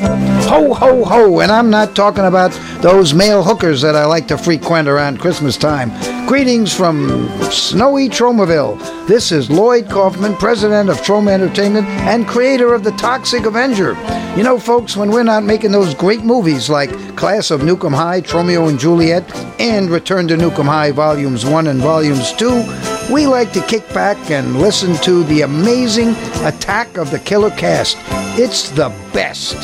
ho, ho, ho. And I'm not talking about those male hookers that I like to frequent around Christmas time. Greetings from snowy Tromaville. This is Lloyd Kaufman, president of Troma Entertainment and creator of The Toxic Avenger. You know, folks, when we're not making those great movies like Class of Newcomb High, Romeo and Juliet, and Return to Newcomb High Volumes 1 and Volumes 2, we like to kick back and listen to the amazing Attack of the Killer Cast. It's the best.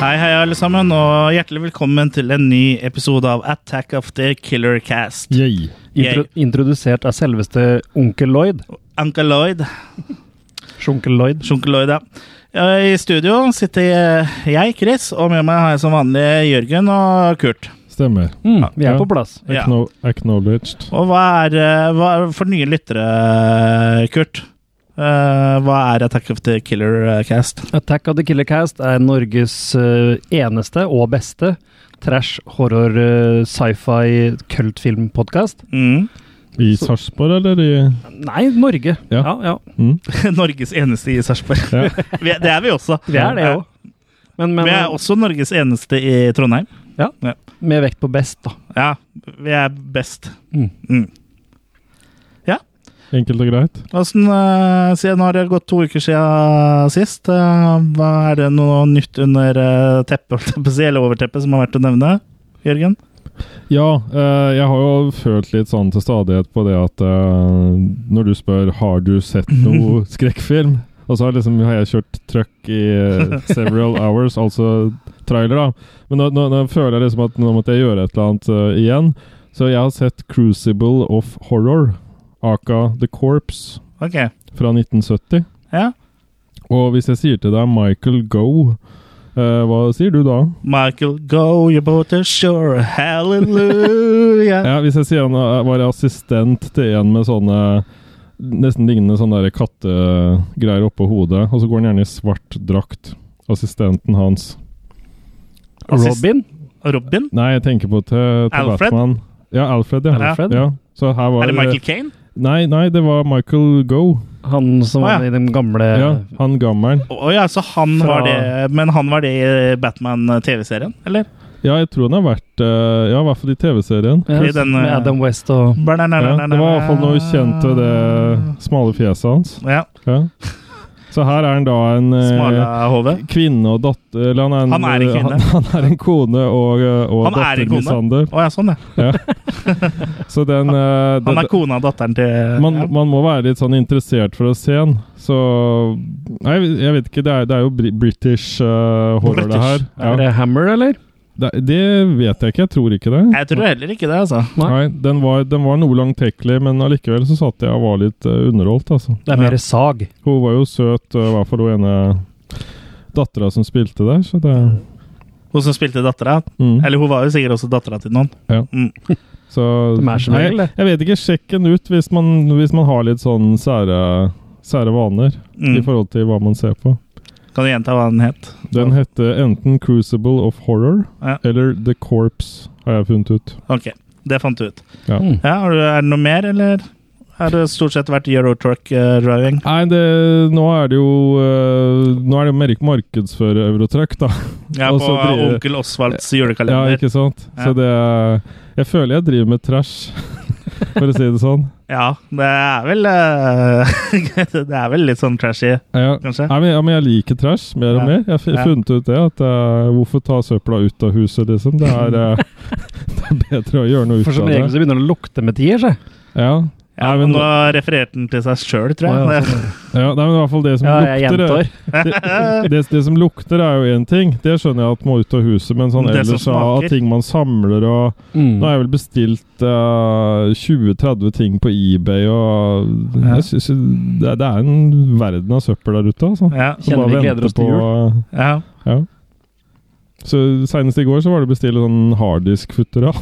Hei, hei, alle sammen, og hjertelig velkommen til en ny episode av Attack of the Killer Cast. Yay. Intro, introdusert av selveste onkel Lloyd. Uncle Lloyd, Sjunkel Lloyd. Sjunkel Lloyd, ja. Ja, I studio sitter eh, jeg, Chris, og med meg har jeg som vanlig Jørgen og Kurt. Stemmer. Mm, vi Ja. er på plass. Ja. Acknow acknowledged. Og hva er, eh, hva er For nye lyttere, Kurt, eh, hva er Attack of the Killer eh, Cast? Attack of the Killer Cast er Norges eh, eneste og beste trash, horror, eh, sci-fi, kultfilmpodkast. Mm. I Sarpsborg, eller i Nei, Norge. Ja. ja. ja. mm? Norges eneste i Sarpsborg. ja. Vi er- Det er vi også. Vi er det òg. Men, men Vi er også Norges eneste i Trondheim. med vekt på best, da. Ja, vi er best. Mm. Mm. Enkelt og greit. Hvordan, eh, siden nå har det gått to uker siden sist. eh, hva er det noe nytt under eh, teppet, holdt jeg på å si, eller overteppet, som har vært å nevne? Jørgen? Ja, eh, jeg har jo følt litt sånn til stadighet på det at eh, når du spør har du sett noe skrekkfilm, og så har, liksom, har jeg kjørt truck i eh, several hours, altså trailer, da. Men nå, nå, nå føler jeg liksom at nå måtte jeg gjøre et eller annet eh, igjen. Så jeg har sett 'Crucible of Horror', aka 'The Corpse', Ok. fra 1970. Ja. Og hvis jeg sier til deg Michael Go, eh, hva sier du da? Michael, go your boat to shore, hallelujah. Ja, Hvis jeg sier han eh, var assistent til en med sånne nesten lignende sånne der kattegreier oppå hodet, og så går han gjerne i svart drakt. Assistenten hans. Assist- Robin. Robin? Nei, jeg tenker på til, til Alfred? Batman. Ja, Alfred, ja. Ja. Alfred. ja. Så her var Er det Michael Kane? Nei, nei, det var Michael Go. Han som Å, ja. var i den gamle Ja, han gammelen. Å ja, så han Fra- var det Men han var det i Batman-TV-serien, eller? Ja, jeg tror han har vært eh, Ja, i hvert fall i TV-serien. Ja, I den, med eh, Adam West og Ja, det var i hvert fall noe kjent ved det smale fjeset hans. Ja. Ja. Så her er han da en eh, Smala hode. kvinne og datter Eller han er en, Han er en kvinne. Han, han er en kone og, eh, og Han er en kone. dattermishandler. Å ja, sånn, ja. Så den eh, det- Han er kona og datteren til man, ja. man må være litt sånn interessert for å se den. Så Nei, jeg vet ikke. Det er, det er jo bri- British eh, horror, det her. British. Ja. Er det Hammer, eller? Det, det vet jeg ikke. Jeg tror ikke det. Jeg tror heller ikke det, altså. Nei. Nei, den var, den var noe langtekkelig, men allikevel så satt jeg og var litt eh, underholdt, altså. Det er Ja. mer sag. Hun var jo søt, eh, i hvert fall hun ene dattera som spilte der, så det Hun som spilte dattera. mm. Eller hun var jo sikkert også dattera til noen. Så De er som Nei, regel, det. Jeg vet ikke, sjekk den ut hvis man, hvis man har litt sånn sære, sære vaner i Mm. forhold til hva man ser på. Kan du gjenta hva den het? Den heter enten Crucible of Horror Ja. eller The Corpse, har jeg funnet ut. Ok, det fant du ut. Ja. Mm. Ja, har du, Er det noe mer, eller? Har det stort sett vært Eurotruck eh, driving? Nei, det, nå er det jo eh, Nå er det jo mer ikke markedsføre Eurotruck, da. Ja, Og på så driver- onkel Osvalds Ja, julekalender. Ja, ikke sant? Ja. Så det er- Jeg føler jeg driver med trash, for å si det sånn. det er vel eh, Det er vel litt sånn trashy, Ja. kanskje? Nei, men, ja, men jeg liker trash mer og Ja. mer. Jeg har fu- Ja. funnet ut det. At eh, hvorfor ta søpla ut av huset, liksom? Det er, eh, det er bedre å gjøre noe ut For som av regel det. så begynner det å lukte med tier, seg. Ja. Ja, Nei, men men- nå refererte den til seg sjøl, tror Å, jeg. ja, nei, men i hvert fall det som Ja, lukter jeg er- gjentar. det, det, det som lukter, er jo én ting. Det skjønner jeg at må ut av huset, men sånn Det som ellers av smaker. ting man samler og Mm. Nå har jeg vel bestilt eh, 20-30 ting på eBay og Ja. jeg synes, det, det er en verden av søppel der ute, altså. Ja, Som Kjenner bare vi gleder venter oss til på- ja. Ja. Så Senest i går så var det bestilt sånn harddisk futteral.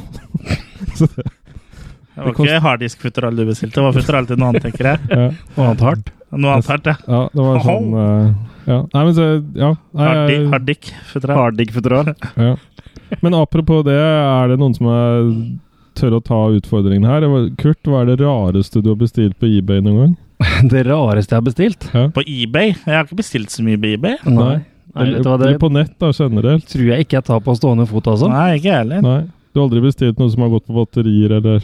Det var ikke harddisk-futteral du bestilte, det var futteral til noe annet, tenker jeg. Ja, Noe annet hardt. Noe annet hardt, ja. ja det var sånn eh, Ja. Nei, men så Ja. Nei, Harddi- jeg- Harddick-futteral. Harddigg futteral. Ja. Men apropos det, er det noen som er tør å ta utfordringen her? Kurt, hva er det rareste du har bestilt på eBay noen gang? Det rareste jeg har bestilt. På eBay? Jeg har ikke bestilt så mye på eBay. Nei. Nei, vet du eller, hva, det eller på nett, da, generelt? tror jeg ikke jeg tar på stående fot, altså. Nei, ikke jeg heller. Sånn. Nei. Du har aldri bestilt noe som har gått på batterier, eller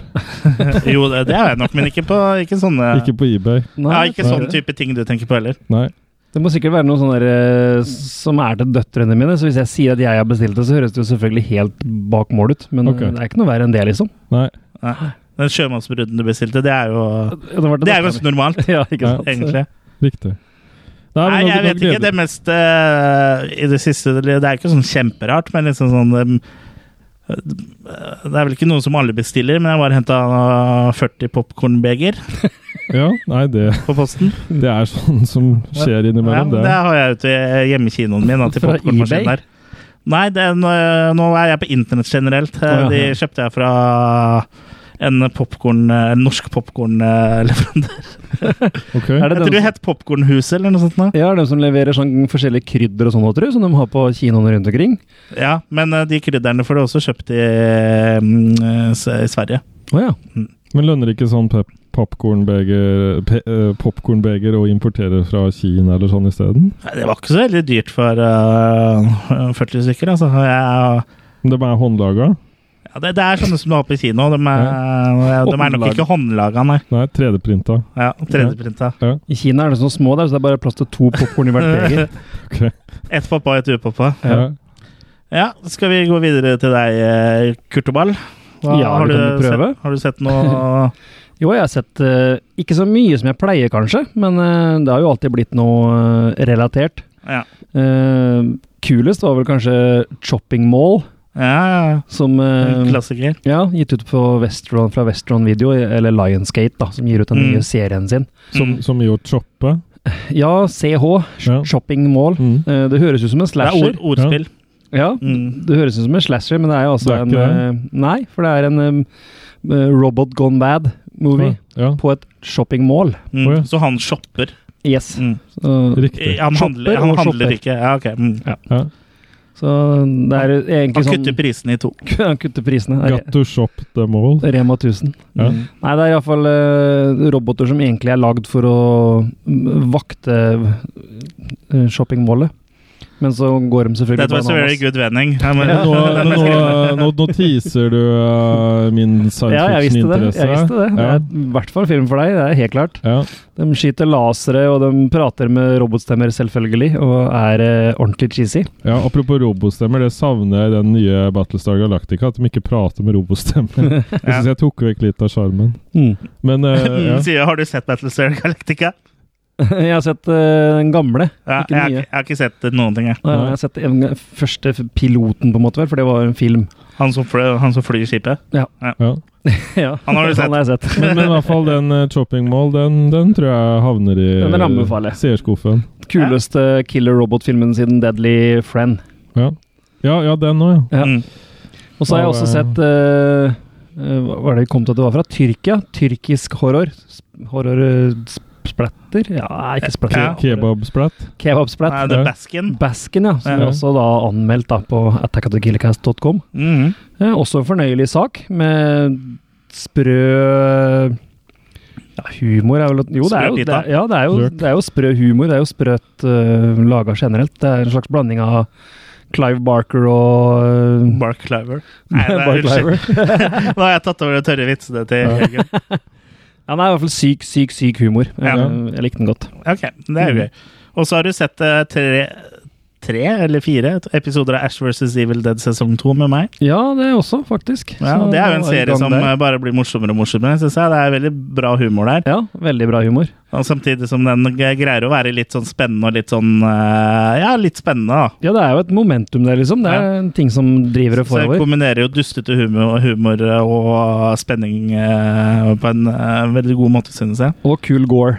Jo, det det har jeg nok, men ikke på ikke sånne Ikke på eBay? Nei, ja, jeg ikke tror sånn det. type ting du tenker på heller. Nei. Det må sikkert være noe sånn der eh, som er til døtrene mine, så hvis jeg sier at jeg har bestilt det, så høres det jo selvfølgelig helt bak mål ut, men eh, Ok. det er ikke noe verre enn det, liksom. Nei. Nei. Den sjømannsbrudden du bestilte, det er jo Det, Det er var til jo datteren ganske normalt, min. Ja, ikke Ja. sant? egentlig. Riktig. Nei, Nei, jeg men da- da vet ikke. gleder- Det mest eh, i det siste Det er ikke sånn kjemperart, men liksom sånn em, Det er vel ikke noe som alle bestiller, men jeg bare henta 40 popkornbeger Ja, nei, det, på posten. det er sånn som skjer Ja, innimellom, men det det. har jeg ute i hjemmekinoen min. Da, til Fra popcornmaskinen eBay? der. Nei, det er, nå- nå er jeg på internett generelt. ja. De kjøpte jeg fra en popcorn, en norsk popkornleverandør. Ok. Er det Jeg tror den det het Popkornhuset eller noe sånt. nå. Ja, de som leverer sånn forskjellige krydder og sånn, tror jeg, som de har på kinoene rundt omkring. Ja, men eh, de krydderne får du også kjøpt i, mm, s- i Sverige. Å ja. Men lønner ikke sånn pep popkornbeger pe eh, popcornbeger å importere fra Kina eller sånn isteden? Nei, Det var ikke så veldig dyrt for eh, 40 stykker, altså. Jeg, De er håndlaga? ja, det, det er sånne som du har på kino. De er, de er nok ikke håndlaga, nei. Nei, 3D-printa. Ja, 3D-printa. I Kina er det så små der, så det er bare plass til to popkorn i hvert beger. Ok. Ett pappa og ett upappa. Ja. Ja, skal vi gå videre til deg, eh, Kurt og Ball? Ja, vi kan jo prøve. Sett, har du sett noe Jo, jeg har sett eh, ikke så mye som jeg pleier, kanskje, men eh, det har jo alltid blitt noe eh, relatert. Ja, Eh, kulest var vel kanskje Chopping Mall, ja, ja. som eh, En klassiker. Ja, gitt ut på Westron, fra Westron Video, eller Lionsgate, da, som gir ut den Mm. nye serien sin. Som, Mm. som i å choppe. Ja, CH, Ja. Shopping Mall. Mm. Eh, Det høres ut som en Det er slasher. ord, ordspill. Ja, Mm. det høres ut som en slasher, men det er jo altså Det er en ikke eh, Nei, for det er en eh, Robot Gone Bad-movie Ja. på et shopping mall. Mm. Å, ja. Så han shopper. Yes. Mm. Så- Riktig. Han Shopper handler, han og handler shopper. ikke. Ja, ok. Mm. Ja. så det er egentlig Han sånn kutter prisene i to. Han kutter prisene. Det er Got to shop the mall. Rema 1000. Ja. Mm. Nei, det er iallfall uh, roboter som egentlig er lagd for å mm, vakte eh, shoppingmålet. Men så går de selvfølgelig That was a very bananas. good vending. Ja, men, Nå, nå, nå, nå teaser du eh, min science Ja, jeg visste det. fiction-interesse. Jeg visste det. det Ja. er I hvert fall film for deg, det er helt klart. Ja. De skyter lasere, og de prater med robotstemmer, selvfølgelig, og er eh, ordentlig cheesy. ja, Apropos robostemmer, det savner jeg i den nye Battlestar Galactica. At de ikke prater med robostemmer. Jeg syns jeg tok vekk litt av sjarmen. Mm. Men eh, ja. Sier, har du sett Battlestar Galactica? Jeg har sett eh, den gamle. Ja, Ikke jeg, har ikke- nye. jeg har ikke sett noen ting, jeg. Jeg har sett den første piloten, på en måte, vel, for det var en film. Han som, fløy, han som flyr skipet. ja. ja, Han har du sett. Den har jeg sett. Men, men i hvert fall den eh, chopping mall, den, den tror jeg havner i Den eh, anbefaler jeg. seerskuffen. Kuleste killer robot-filmen siden Deadly Friend. Ja. Ja, ja, den òg, ja. Ja. Mm. Og så har jeg også sett eh, eh, Hva var det vi kom til at det var fra? Tyrkia? Tyrkisk horror? Sp- Horror eh, sp- splatter? Ja, nei, ikke splatter. Ja. Kebabsplatt. Kebabsplatt. Nei, The Ja. Baskin. Basken, ja. Som Ja. er også da anmeldt da på attackatthekillercast.com. Mhm. Eh, også en fornøyelig sak, med sprø ja, humor er vel Jo, det er Sprø jo, det pita. er, ja, det er jo, Sprøt. det er jo sprø humor. Det er jo sprøt uh, laga generelt. Det er en slags blanding av Clive Barker og eh, Mark Cliver. Nei, det er Bark unnskyld. Liver. Nå har jeg tatt over de tørre vitsene til Ja. Jørgen. Ja, det er i hvert fall syk, syk, syk humor. Ja. Eh, Jeg likte den godt. Ok, det Mm. er jo gøy. Og så har du sett eh, tre, tre eller fire episoder av Ash vs. Evil Dead sesong to med meg. Ja, det er også, faktisk. Ja, Så det er jo en da i serie gang som der. eh, bare blir morsommere og morsommere, synes jeg. Det er veldig bra humor der. Ja, veldig bra humor. Og samtidig som den g- greier å være litt sånn spennende og litt sånn eh, Ja, litt spennende, da. Ja, det er jo et momentum der, liksom. Det er ting som driver det Så jeg forover. kombinerer jo dustete humor, humor eh, og spenning eh, på en eh, veldig god måte, synes jeg. Og Cool Gore.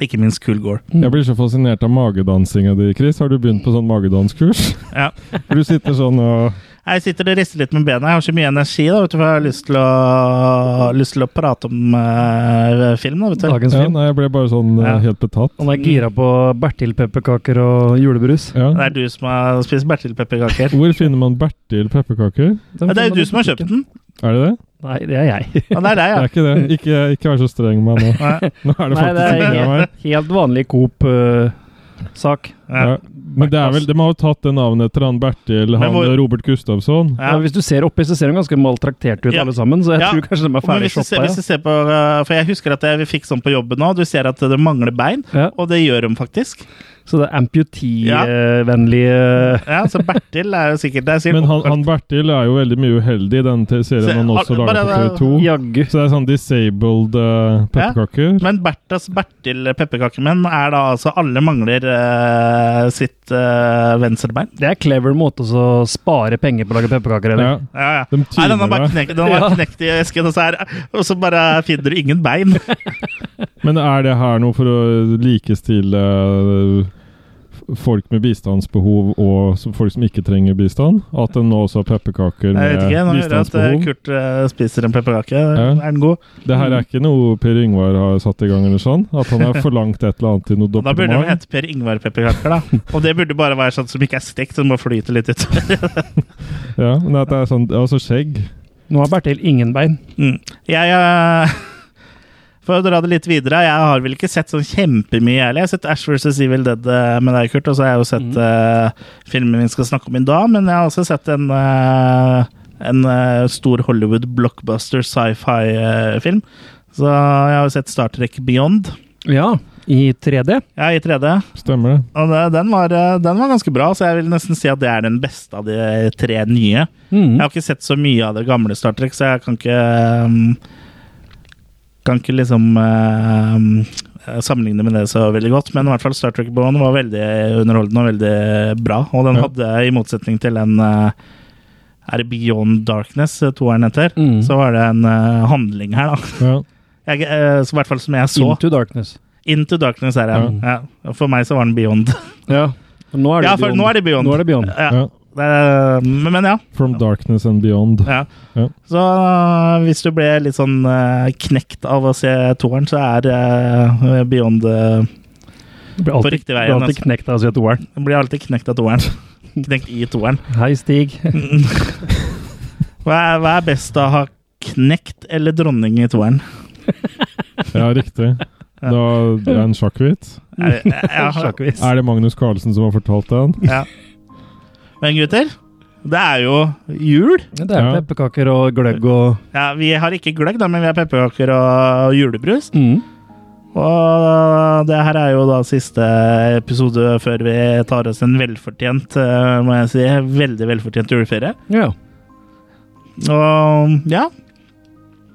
Ikke minst Cool Gore. Jeg blir så fascinert av magedansinga di, Chris. Har du begynt på sånn magedanskurs? Ja. For du sitter sånn og Nei, Jeg sitter og rister litt med bena. Jeg har så mye energi, da, vet du, for jeg har lyst til å, lyst til å prate om eh, film. Da, vet du. Dagens Ja, film. nei, jeg ble bare sånn eh, Ja. helt betatt. Han er gira på bertilpepperkaker og julebrus. Ja. Det er du som har spist bertilpepperkaker. Hvor finner man Bertil pepperkaker? Ja, Det er jo du som har kjøpt den. Er det det? Nei, det er jeg. Og det er deg, ja. Det er ikke det. Ikke, ikke vær så streng med meg nå. Nei, Nå er det Nei, det faktisk er ikke meg. Helt vanlig eh, Coop-sak. ja. Ja. Men det er vel, de har jo tatt det navnet etter han Bertil, Men han hvor- Robert Gustavsson. Ja. Hvis du ser oppi, så ser de ganske maltrakterte ut Ja. alle sammen. Så jeg Ja. tror kanskje de er Men ferdig hvis du, ser, shoppa. hvis du ser på, eh, for jeg husker at jeg fikk sånn på jobben nå, du ser at det mangler bein, Ja. Ja. og det gjør de faktisk. Så det er Ja. amputee-vennlige Ja, så Bertil er jo sikkert det. Er sikkert Men han, han Bertil er jo veldig mye uheldig i den te- Se, serien han også al- lager bare- på TV2. Jaggu. Så det er sånn disabled uh, pepperkaker. Men Bertas Bertil-pepperkakemenn er da altså Alle mangler eh, sitt eh, venstrebein. Det er en clever måte å spare penger på å lage pepperkaker, eller? Ja, Ja, ja. de Nei, den har tyner bare deg. knekt, den har Ja. knekt i esken, og så, er, og så bare finner du ingen bein. Men er det her noe for å likestille eh, f- folk med bistandsbehov og som- folk som ikke trenger bistand? At en nå også har pepperkaker Jeg vet med ikke, Nå hører jeg at eh, bistandsbehov? Kurt eh, spiser en pepperkake. Ja. Er den god? Det her er ikke noe Per Yngvar har satt i gang, eller sånn? At han har forlangt et eller annet i noe Da burde de departement? hete Per Ingvar-pepperkaker, da. Og det burde bare være sånn som ikke er stekt, som bare flyter litt ut. Ja, men at det er sånn, altså skjegg. Nå har Bertil ingen bein. Mm. Jeg eh, For å dra det litt videre, jeg har vel ikke sett sånn kjempemye, jeg heller. Jeg har sett Ash vs. Evil Dead eh, med deg, Kurt, og så har jeg jo sett eh, filmen vi skal snakke om i dag, men jeg har også sett en eh, en eh, stor Hollywood blockbuster sci-fi-film. så jeg har jo sett Star Trek Beyond Ja. I 3D. ja, i 3D. Stemmer det. Og det, den, var, eh, den var ganske bra, så jeg vil nesten si at det er den beste av de tre nye. Mm. Jeg har ikke sett så mye av det gamle Star Trek, så jeg kan ikke um, Kan ikke liksom um, sammenligne med det så veldig godt. Men i hvert fall Star Trek Bond var veldig underholdende og veldig bra. Og den Ja. hadde, i motsetning til en uh, Er det Beyond Darkness, uh, toeren heter, Mm. så var det en uh, handling her, da. Ja. Jeg, uh, så I hvert fall som jeg så. Into, Into Darkness. Darkness er det. Ja. For meg så var den Beyond. Ja. Og Nå er det Ja, for Beyond. nå er det Beyond. Nå er det Beyond. Ja. Ja. Det er- eh, men, men ja. From darkness and beyond. Ja. Ja. Så øh, hvis du ble litt sånn øh, knekt av å se toeren, så er øh, Beyond øh, Det blir På alltid, riktig vei blir igjen, alltid altså. knekt av å si at toeren. Den blir alltid knekt av toeren. knekt i toeren. Hei, Stig. Hva er, hva er best å ha knekt eller dronning i toeren? Ja, riktig. Da det er en sjakkvits. Er, jeg, jeg, Sjakkvis. Er det Magnus Carlsen som har fortalt den? ja. Men gutter, det er jo jul. Det er Ja. pepperkaker og gløgg og Ja, vi har ikke gløgg, da, men vi har pepperkaker og julebrus. mm. Og det her er jo da siste episode før vi tar oss en velfortjent, eh, må jeg si, veldig velfortjent juleferie. Ja. Og ja,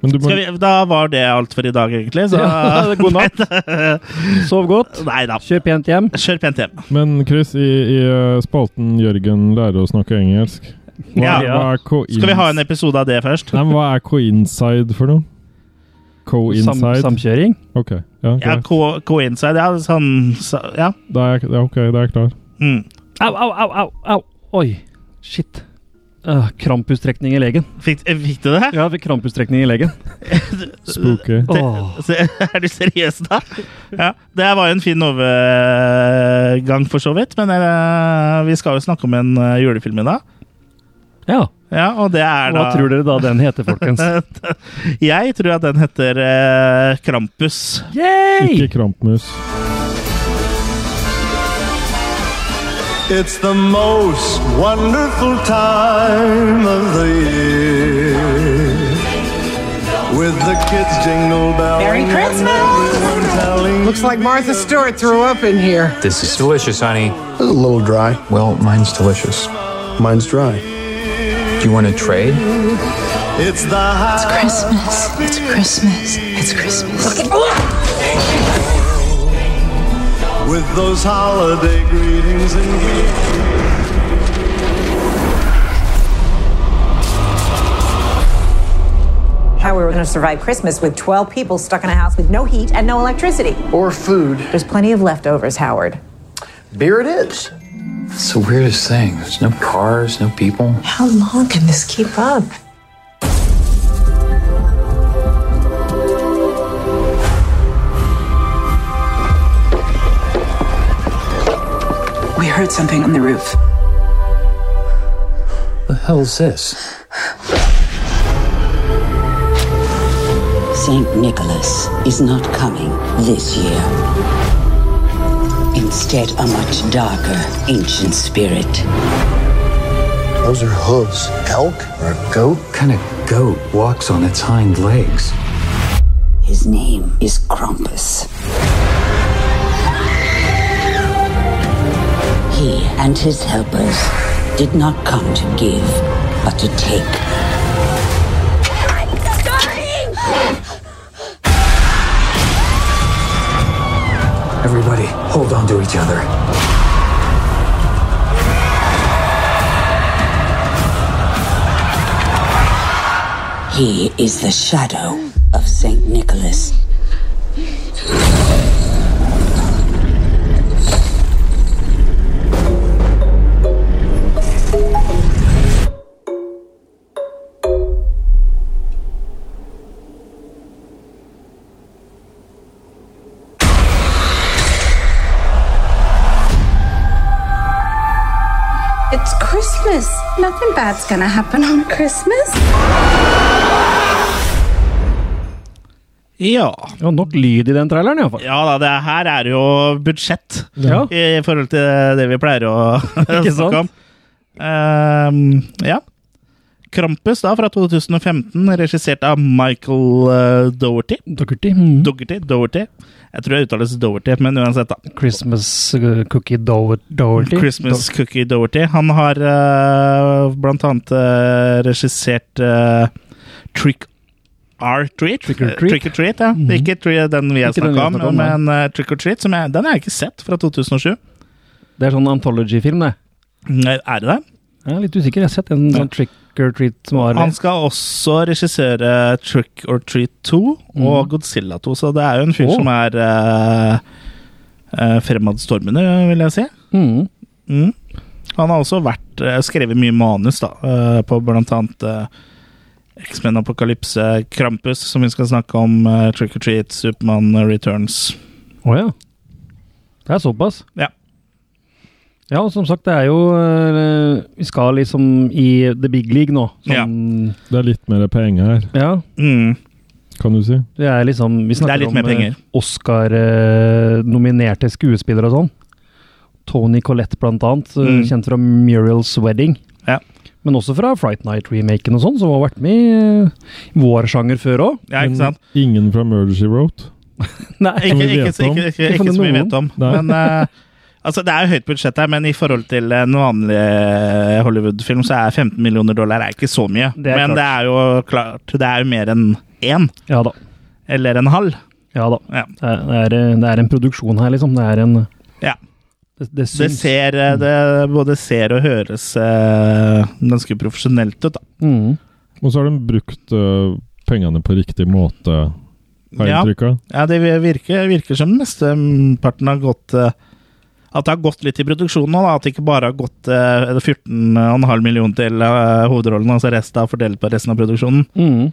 Men du må, skal vi, da var det alt for i dag, egentlig. Så Ja, god natt. Sov godt. Nei da. Kjør pent hjem. Kjør pent hjem. men Chris, i, i eh, spalten Jørgen lærer å snakke engelsk Hva, Ja. hva er coins- Skal vi ha en episode av det først? Nei, men hva er coinside for noe? Sam, Coinside? samkjøring. Ok, ja, Ja, greit. co- coincide. Ja, sånn så, Ja. Da er jeg, ja, ok, da er jeg klar. Mm. Au, au, au, au, au. Oi. Shit. Uh, krampustrekning i legen. Fikk, fikk du det? Ja, jeg fikk krampustrekning i legen. Spooky. Åh. Se- Er du seriøs da? Ja, det var jo en fin overgang for så vidt, men eh, vi skal jo snakke om en eh, julefilm i dag. Ja. Ja, og det er da Hva tror dere da den heter, folkens? Jeg tror at den heter eh, Krampus. Yay! Ikke krampmus. It's the most wonderful time of the year. With the kids jingle bells. Merry Christmas! Looks like Martha Stewart threw up in here. This is delicious, honey. This is a little dry. Well, mine's delicious. Mine's dry. Do you want to trade? It's the high Christmas. It's Christmas. It's Christmas. with those holiday greetings and greetings. How we were going to survive Christmas with 12 people stuck in a house with no heat and no electricity. Or food. There's plenty of leftovers, Howard. Beer it is. It's the weirdest thing. There's no cars, no people. How long can this keep up? We heard something on the roof. The hell's this? St. Nicholas is not coming this year. Instead, a much darker ancient spirit. Those are hooves. Elk or a goat? What kind of goat walks on its hind legs? His name is Krampus. He and his helpers did not come to give, but to take. Everybody, hold on to each other. He is the shadow of St. Nicholas. It's Christmas. Nothing bad's gonna happen on Christmas. Ja. Det var nok lyd i den traileren, iallfall. ja da, det her er jo budsjett Ja. i forhold til det vi pleier å Ikke sant? snakke om. Ehm, ja. Krampus da, fra 2015, regissert av Michael eh, Dougherty. Doherty. Mm. Dougherty, Dougherty. Jeg tror jeg uttales Dougherty, men uansett, da. Christmas uh, cookie Dough- Dougherty. Christmas Cookie Doherty. Han har eh, blant annet eh, regissert eh, Trick or Treat. Trick or Eh, Treat. Mhm. Trick or Treat, ja. Ikke tre- den vi har Ikke den vi snakka har om, snakket om, nei. men eh, Trick or Treat, som jeg, den har jeg ikke sett, fra 2007. Dough- Det er sånn anthology-film, det. Nei, Mm, Er det det? Jeg er litt usikker. Jeg har sett en sånn trick or treat som var Han skal også regissere Trick or Treat 2 og Godzilla 2, så det er jo en fyr Mhm. Åh. som er eh, eh, fremadstormende, vil jeg si. mm. Mm. Han har også vært, eh, skrevet mye manus, da, eh, på blant annet eh, X-Men Apokalypse, Krampus, som vi skal snakke om, eh, Trick or Treat, Supermann Returns. Å ja. Det er såpass? Ja. Ja, og som sagt, det er jo eh, Vi skal liksom i the big league nå. Sånn, Det er litt mer penger her, ja. Mm. kan du si. Det er liksom Vi Det er snakker litt om mer penger. eh, Oscar-nominerte skuespillere og sånn. Tony Collette, blant annet. eh, Mm. Kjent fra Muriel's Wedding. Ja. Men også fra Fright Night-remaken og sånn, som har vært med i eh, vår sjanger før òg. Ja, ikke Men sant? Ingen fra Murder She Wrote. Nei. Ikke, vi ikke, vet ikke, om. ikke, ikke, Ikke for så mye vi noen. vet om. Nei. Men eh, altså, det er jo høyt budsjett her, men i forhold til en vanlig eh, Hollywood-film, så er 15 millioner dollar er ikke så mye. Det er men klart. det er jo klart Det er jo mer enn én, Ja da. eller en halv. Ja da. Ja. Det er, det er, eh, det er en produksjon her, liksom. Det er en Ja. Det, det Det syns. ser, eh, det både ser og høres eh, ganske profesjonelt ut, da. Mm. Og så har de brukt øh, pengene på riktig måte, har jeg Ja, inntrykk av. ja det virker, virker som mesteparten har gått eh, At det har gått litt i produksjonen nå, da. At det ikke bare har gått eh, 14,5 millioner til eh, hovedrollen, altså resten er fordelt på resten av produksjonen. Mm.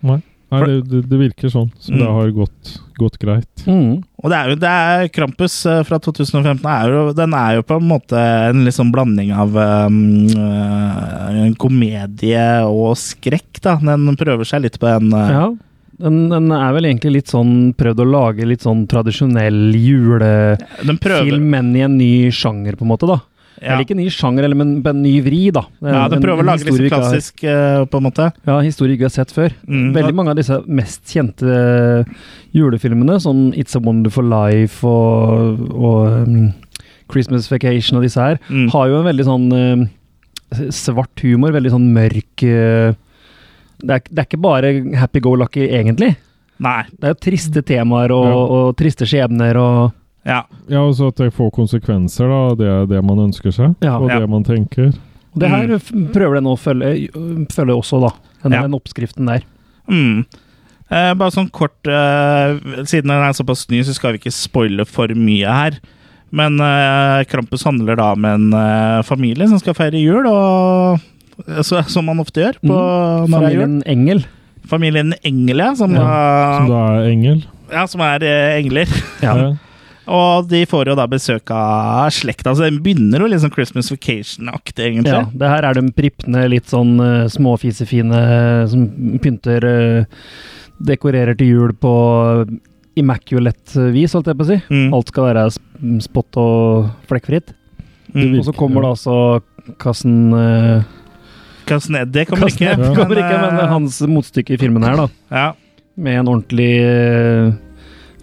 Nei, For- det, det, det virker sånn, så Mm. det har gått, gått greit. Mm. Og det er jo det er Krampus eh, fra 2015 er jo, Den er jo på en måte en litt sånn blanding av um, eh, en komedie og skrekk, da. Den prøver seg litt på en eh, Ja. Den, den er vel egentlig litt sånn prøvd å lage litt sånn tradisjonell julefilm, Den prøver men i en ny sjanger, på en måte, da. ja. Eller ikke en ny sjanger, eller men en ny vri, da. Det er Ja, den en- prøver å en lage litt historie vi sånn ikke har- klassisk, eh, på en måte. Ja, historie ikke har sett før. Mm. Veldig mange av disse mest kjente eh, julefilmene, som It's a Wonderful Life og, og um, Christmas Vacation og disse her, Mm. har jo en veldig sånn eh, svart humor, veldig sånn mørk eh, det er, det er ikke bare happy-go-lucky, egentlig. Nei. Det er jo triste temaer og, Ja. og triste skjebner og Ja. Ja, og så at det får konsekvenser, da. Det er det man ønsker seg, Ja. og Ja. det man tenker. og Det her Mm. f- prøver den å følge, følge også, da. Den, Ja. den oppskriften der. Mm. Eh, bare sånn kort eh, Siden den er såpass ny, så skal vi ikke spoile for mye her. Men eh, Krampus handler da med en eh, familie som skal feire jul, og så, som man ofte gjør på, når det er jul. Mm. Familien Engel. Familien Engel, ja. Som, Som Da, da er engel. ja, som er eh, engler. Ja. Og de får jo da besøk av slekta, så den begynner jo litt sånn Christmas Vacation-aktig, egentlig. Ja, det her er de pripne, litt sånn eh, småfisefine eh, som pynter eh, Dekorerer til jul på immaculate vis, holdt jeg på å si. Mm. Alt skal være sp- spott og flekkfritt. Mm. Og så kommer det altså Kassen eh, Kassen Eddie kommer Kassen ikke. Ja. kommer ikke, men eh, hans motstykke i filmen her, da. ja. Med en ordentlig eh,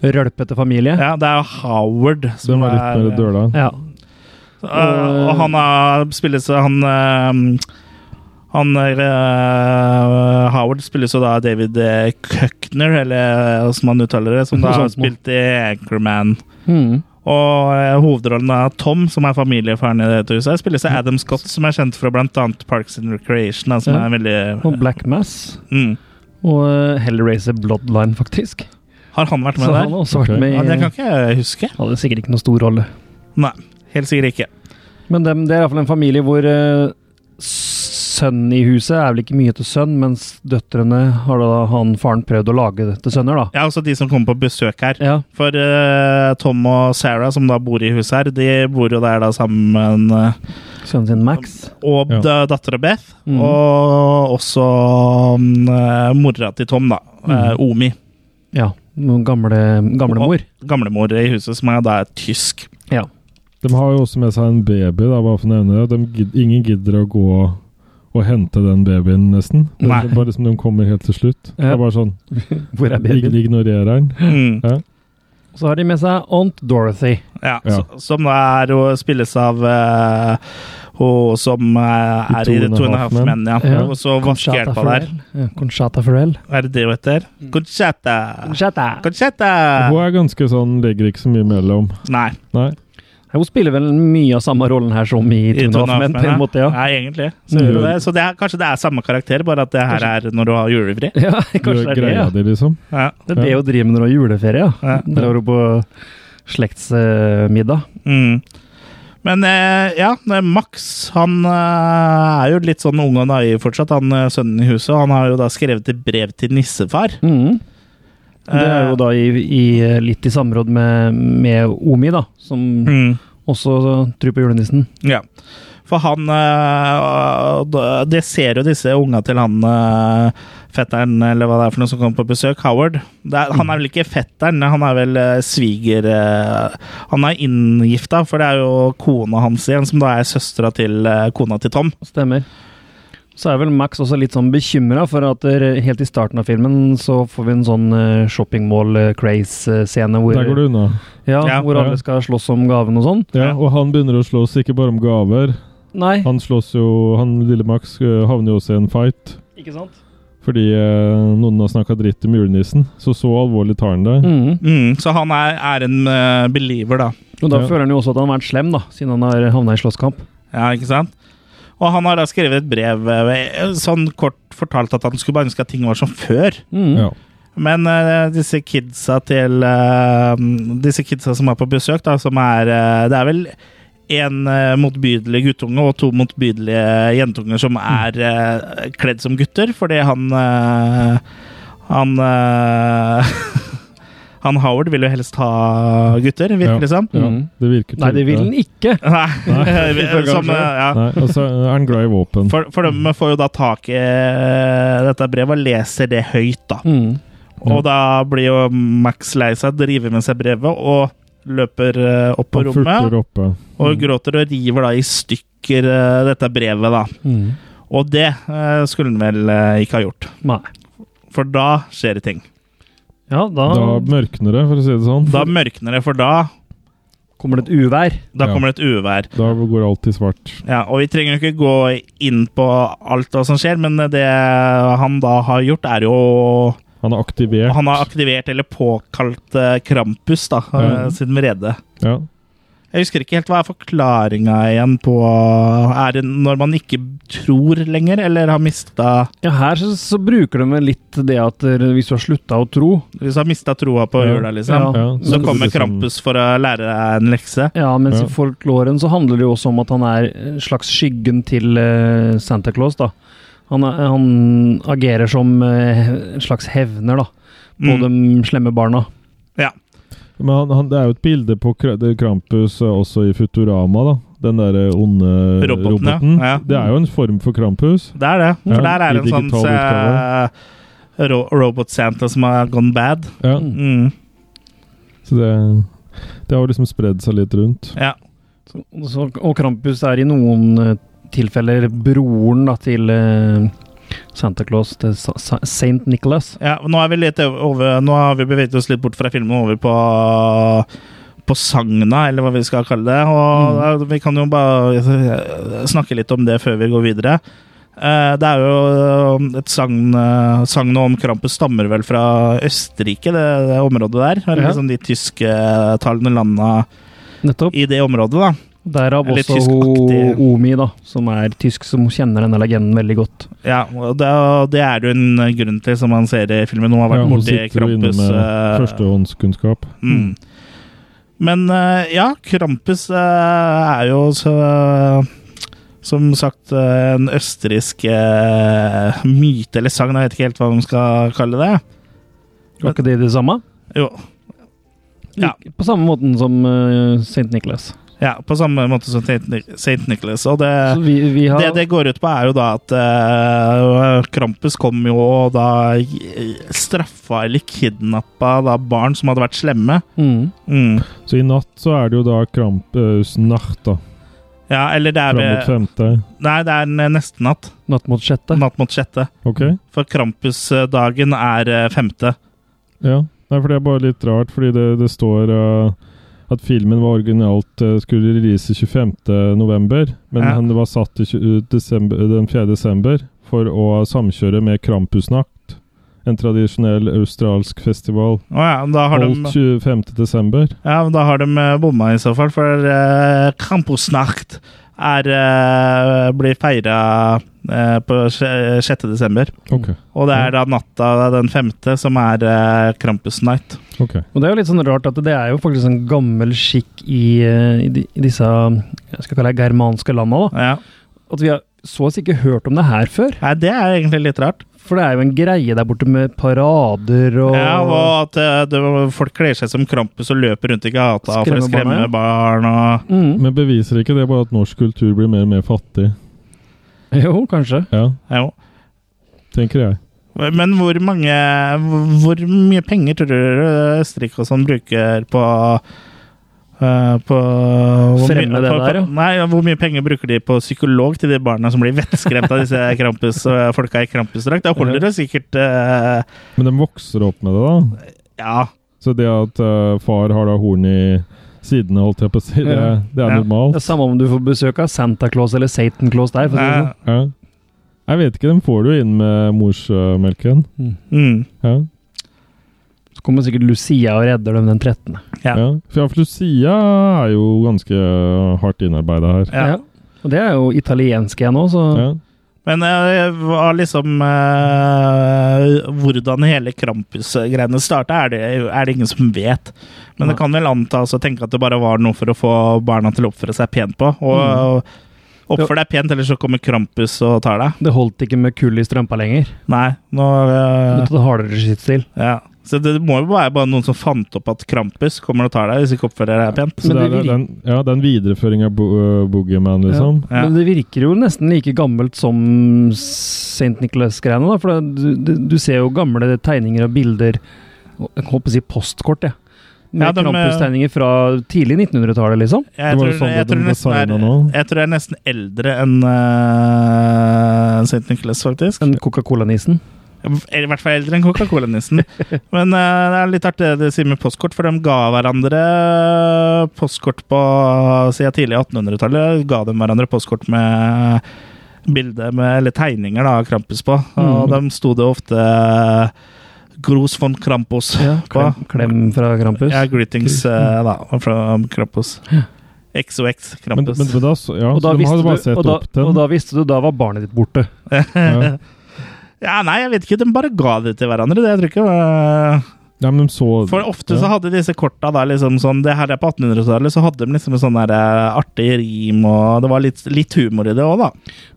rølpete familie. ja, det er jo Howard Den var litt mer døla. Ja. Eh, og han har spilles Han eh, han er, eh, Howard spilles jo da av David eh, Kuckner, eller eh, som han uttaler det, som da Noe har sånt noe. spilt i Anchorman. Mm. Og eh, hovedrollen av Tom, som er familiefaren i dette huset, spilles av Adam Scott, som er kjent fra blant annet Parks and Recreation, da, som Ja. er veldig Og Black Mass. mm. Og eh, Hellraiser Bloodline, faktisk. Har han vært Så med han har der? også vært Ok. med Ja, det i kan ikke jeg huske. Hadde sikkert ikke noe stor rolle. Nei, helt sikkert ikke. Men dem, det er iallfall en familie hvor uh, sønnen i huset er vel ikke mye til sønn, mens døtrene har da han faren prøvd å lage det til sønner, da. Ja, også de som kommer på besøk her. Ja. For eh, Tom og Sarah, som da bor i huset her, de bor jo der da sammen eh, Sønnen sin Max. Og Ja. da- dattera Beth, Mhm. og også mm, eh, mora til Tom, da. eh, Omi. Ja. Noen gamle, gamle mor. Gamlemor i huset, som er da tysk. Ja. De har jo også med seg en baby, da, bare for å nevne det. De, gid- ingen gidder å gå og hente den babyen, nesten. Det Nei. er bare som de kommer helt til slutt. Det Ja. er bare sånn Hvor er ig- babyen? Ignorerer den. Mm. Ja. Så har de med seg Aunt Dorothy. Ja, Ja. s- Som da er å spilles av eh, hun som eh, I er i To and a Half Men, ja. Ja. Og så vaskehjelpa der. Ja, Conchata Farrell. Hva er det det hun heter? Conchetta. Conchata. Conchetta! Hun er ganske sånn, legger ikke så mye mellom. Nei. Nei. Ja, Hun spiller vel mye av samme rollen her som i i Two and a Half Tunaf, men på Men, ja. en måte, ja. Mm. Nei, egentlig. Så, gjør hun det. så det er, kanskje det er samme karakter, bare at det her er når du har julefri. Ja, Kanskje kanskje det er det, ja. greia di, liksom. Ja. Det er det hun driver med når hun har juleferie, ja. Ja. Drar hun på slektsmiddag. Mm. Men eh, ja, eh, Max han eh, er jo litt sånn ung og naiv fortsatt, han eh, sønnen i huset. og Han har jo da skrevet et brev til nissefar. Mm. Det er jo da i, i, litt i samråd med, med Omi, da, som Mm. også tror på julenissen. Ja. For han eh, da- Det ser jo disse unga til han eh, fetteren, eller hva det er for noe som kommer på besøk, Howard. Det er, han er vel ikke fetteren, han er vel eh, sviger... eh, han er inngifta, for det er jo kona hans igjen, som da er søstera til eh, kona til Tom. Stemmer. Så er vel Max også litt sånn bekymra for at der, helt i starten av filmen så får vi en sånn eh, shopping mall craze-scene hvor, Der går det unna. ja, Ja, hvor ja. alle skal slåss om gaven og sånn. Ja, og han begynner å slåss ikke bare om gaver. Nei, Han slåss jo Han lille Max øh, havner jo også i en fight. ikke sant? Fordi eh, noen har snakka dritt om julenissen. Så så alvorlig tar han det. Mhm. Mm, så han er, er en eh, believer, da. Og da Ja. føler han jo også at han har vært slem, da, siden han har havna i slåsskamp. Ja, ikke sant? Og han har da skrevet et brev eh, sånn kort fortalt at han skulle bare ønske at ting var som før. Mhm. Ja. Men eh, disse kidsa til eh, Disse kidsa som er på besøk, da, som er eh, Det er vel én motbydelig guttunge og to motbydelige jentunger som er eh, kledd som gutter, fordi han eh, Han eh, Han Howard vil jo helst ha gutter, virker det som. Ja, Mhm. det virker Nei, det vil til- han ikke! Nei, som, eh, ja. Nei, og så er han glad i våpen. For, for de får jo da tak i eh, dette brevet og leser det høyt, da. Mhm. Og da blir jo Max lei seg, driver med seg brevet og løper eh, opp på Han rommet furter oppe. og gråter og river da i stykker eh, dette brevet, da. Mhm. Og det eh, skulle han vel eh, ikke ha gjort. Nei. For da skjer det ting. Ja, da, Da mørkner det, for å si det sånn. Ah. Da mørkner det, for da, kommer det et uvær. da Ja. kommer det et uvær. Da går alt i svart. Ja, og vi trenger jo ikke gå inn på alt hva som skjer, men det han da har gjort, er jo Han er aktivert. Han har aktivert eller påkalt eh, Krampus, da, eh, Ja. sin vrede. Ja. Jeg husker ikke helt hva er forklaringa igjen på Er det når man ikke tror lenger, eller har mista Ja, her så, så bruker de litt det at eh, hvis du har slutta å tro Hvis du har mista troa på Ja. jula, liksom, Ja. så kommer liksom Krampus for å lære deg en lekse. Ja, mens Ja. i folkloren så handler det jo også om at han er en slags skyggen til eh, Santa Claus, da. Han, er, han agerer som eh, en slags hevner, da, på Mm. de slemme barna. Men han, han, det er jo et bilde på Kra- det- Krampus eh, også i Futurama, da. Den derre onde roboten. Roboten, ja. Ja. Det er jo en form for Krampus. Det er det. For Ja, der er i det en sånn digital utgave. se, ro Robot-Santa som har gone bad. Ja, Mm. så det, det har jo liksom spredd seg litt rundt. Ja. Så, så, og Krampus er i noen eh, tilfeller broren da, til eh, Santa Claus, til Sa- Sa- Saint Nicholas. Ja, og nå, er vi litt over, nå har vi beveget oss litt bort fra filmen og over på, på sagna, eller hva vi skal kalle det. Og Mm. da- Vi kan jo bare eh, snakke litt om det før vi går videre. Eh, Det er jo et sagn eh, Sagnet om Krampus stammer vel fra Østerrike, det, det området der. Eller Ja. liksom de tysktalende landa Nettopp. i det området, da. Derav Eller også tyskaktig. ho- Omi, da, som er tysk, som kjenner denne legenden veldig godt. Ja, og det, og det er det jo en grunn til, som man ser i filmen. Hun har vært Ja, hun borti sitter jo inne Krampus. med eh, førstehåndskunnskap. Mm. Men eh, ja, Krampus eh, er jo så eh, Som sagt eh, en østerriksk eh, myte eller sagn, jeg vet ikke helt hva man skal kalle det. Var ikke det det samme? Jo, Ja. Lik- På samme måten som eh, Saint Nicholas. ja, På samme måte som Saint Nic- Saint Nicholas. Og det, Så vi, vi har Eh, det det går ut på, er jo da at eh, Krampus kom jo og da straffa eller kidnappa da barn som hadde vært slemme. Mm. Mm. Så i natt så er det jo da Krampusnacht, da. Ja, eller det er Fram mot ved femte. Nei, det er en neste natt. Natt mot sjette. Natt mot sjette. Ok? For Krampusdagen er eh, femte. Ja. Nei, for det er bare litt rart, fordi det, det står eh, at filmen var originalt eh, skulle release 25. november, men Ja. den var satt til tjue- desember, eh, den 4. desember for å samkjøre med Krampusnacht, en tradisjonell australsk festival. Å ja, men da har, Holdt de, 25. desember. ja, men da har de eh, bomma i så fall, for uh, Krampusnacht er, eh, blir feira eh, på sj- 6. desember. Ok. Og det er da natta den femte som er eh, Krampus Night. ok. Og det er jo litt sånn rart at det er jo faktisk en gammel skikk i, eh, i, de, i disse jeg skal kalle det germanske landa. da. Ja. At vi har så å si ikke hørt om det her før. Nei, det er egentlig litt rart. For det er jo en greie der borte med parader og Ja, og at eh, det, folk kler seg som Krampus og løper rundt i gata for å Skremme barna, skremme ja. barn og mm. Men beviser ikke det bare at norsk kultur blir mer og mer fattig? Jo, kanskje. Ja, ja. jo. tenker jeg. Men hvor mange Hvor mye penger tror du Østerrike og sånn bruker på eh, på hvor Fremme mye- det på- der, ja. Nei, hvor mye penger bruker de på psykolog til de barna som blir vettskremt av disse Krampus, folka i Krampusdrakt? Da holder det sikkert eh, Men de vokser opp med det, da. Ja. Så det at eh, far har da horn i sidene, holdt jeg på å si, det, Ja. det er Ja. Det normalt. er samme om du får besøk av Santa Claus eller Satan Claus der. For å si det sånn. Ja. Jeg vet ikke, den får du inn med morsmelken. eh, mm. Ja. Så kommer sikkert Lucia og redder dem den 13. Ja. Ja. For ja, for Lucia er jo ganske eh, hardt innarbeida her. Ja. Og det er jo italiensk igjen òg, så Ja. Men eh, hva liksom eh, Hvordan hele Krampus-greiene starta, er, det- er det ingen som vet. Men det kan vel antas å tenke at det bare var noe for å få barna til å oppføre seg pent på. Og Mm. oppfør deg pent, ellers så kommer Krampus og tar deg. det holdt ikke med kull i strømpa lenger. Nei, nå Du eh, tar hardere skittstil. Ja. Så det må jo være bare noen som fant opp at Krampus kommer og tar deg hvis du ikke oppfører deg pent. Så Men det det er vir- den, ja, det er en videreføring av bo øh, Boogeyman, liksom. Ja. Men det virker jo nesten like gammelt som St. Nicholas-greiene, da. For det- du, du, du ser jo gamle tegninger og bilder Jeg holdt på å si postkort, jeg. Med Ja, de, eh, Krampus-tegninger fra tidlig 1900-tallet, liksom. Jeg Det var tror, jo sånn jeg, det tror ble nesten er, designet nå. jeg tror jeg er nesten eldre enn uh, St. Nicholas, faktisk. Den Coca-Cola-nissen. Eller I hvert fall eldre enn Coca-Cola-nissen. Men eh, det er litt artig det du sier med postkort, for de ga hverandre postkort på siden tidlig 1800-tallet. Ga de hverandre postkort med bilder med, eller tegninger da, av Krampus på. Og Mm. de sto det ofte eh, Gros von Krampus Ja, på. klem, klem fra Krampus. Ja, greetings eh, da, fra um, Krampus. XOX Men, Krampus. men, men da, så- ja, Og så de da, har visste jo bare du, sett og, da, opp til og den. da visste du, da var barnet ditt borte. Ja. ja, nei, jeg vet ikke. De bare ga det til hverandre. Det, jeg tror ikke eh, det var- Ja, men de så For ofte ja. så hadde disse korta da liksom sånn Det her er på 1800-tallet, så hadde de liksom en sånn der eh, artig rim, og det var litt, litt humor i det òg, da.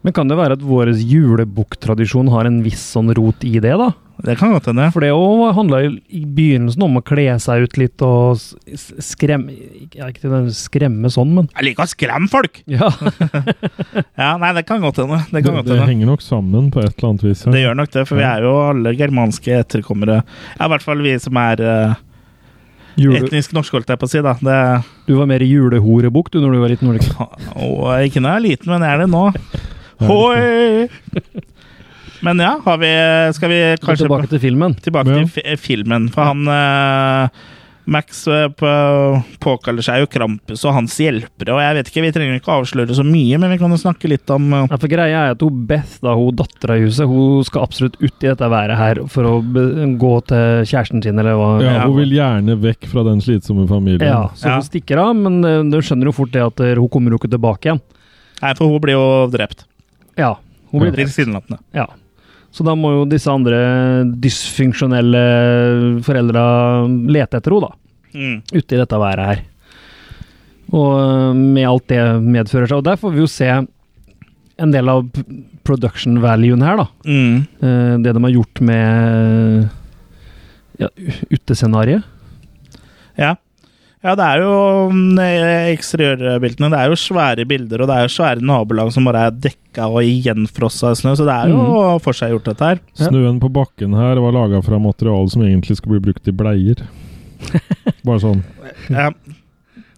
Men kan det være at vår julebukktradisjon har en viss sånn rot i det, da? Det kan godt hende. For det òg handla i begynnelsen om å kle seg ut litt og s- s- skremme ja, Ikke til den skremme sånn, men Jeg liker å skremme folk! Ja. Ja, nei, det kan godt hende. Det kan Det, godt det hende. henger nok sammen på et eller annet vis. Det gjør nok det, for vi er jo alle germanske etterkommere. Ja, I hvert fall vi som er eh, Jule, etnisk norske, holdt jeg på å si. da. Det, du var mer i julehorebukk du når du var liten? var du ikke? og jeg er ikke når jeg er liten, men jeg er det nå. Hoi! Men ja, har vi, skal vi Gå kanskje tilbake til filmen. tilbake Ja. til fi- filmen, for han eh, Max eh, på- påkaller seg jo Krampus og hans hjelpere, og jeg vet ikke, vi trenger ikke avsløre så mye, men vi kan jo snakke litt om eh, Ja, for greia er at hun Beth, da, hun dattera i huset, hun skal absolutt ut i dette været her for å be gå til kjæresten sin, eller hva. Ja, hun vil gjerne vekk fra den slitsomme familien. Ja, så Ja. hun stikker av, men eh, du skjønner jo fort det at eh, hun kommer jo ikke tilbake igjen. Nei, for hun blir jo drept. Ja, hun blir drept. Tilsynelatende. Ja. Så da må jo disse andre dysfunksjonelle foreldra lete etter henne, da. Mm. Ute i dette været her. Og eh, med alt det medfører seg. Og der får vi jo se en del av p- production valuen her, da. Mm. Eh, Det de har gjort med ja, utescenarioet. Ja. ja, det er jo mm, eh, eksteriørbildene. Det er jo svære bilder, og det er jo svære nabolag som bare er dekka og gjenfrossa i snø, så det er jo for seg gjort, dette her. Snøen på bakken her var laga fra materiale som egentlig skulle bli brukt i bleier. Bare sånn. Ja.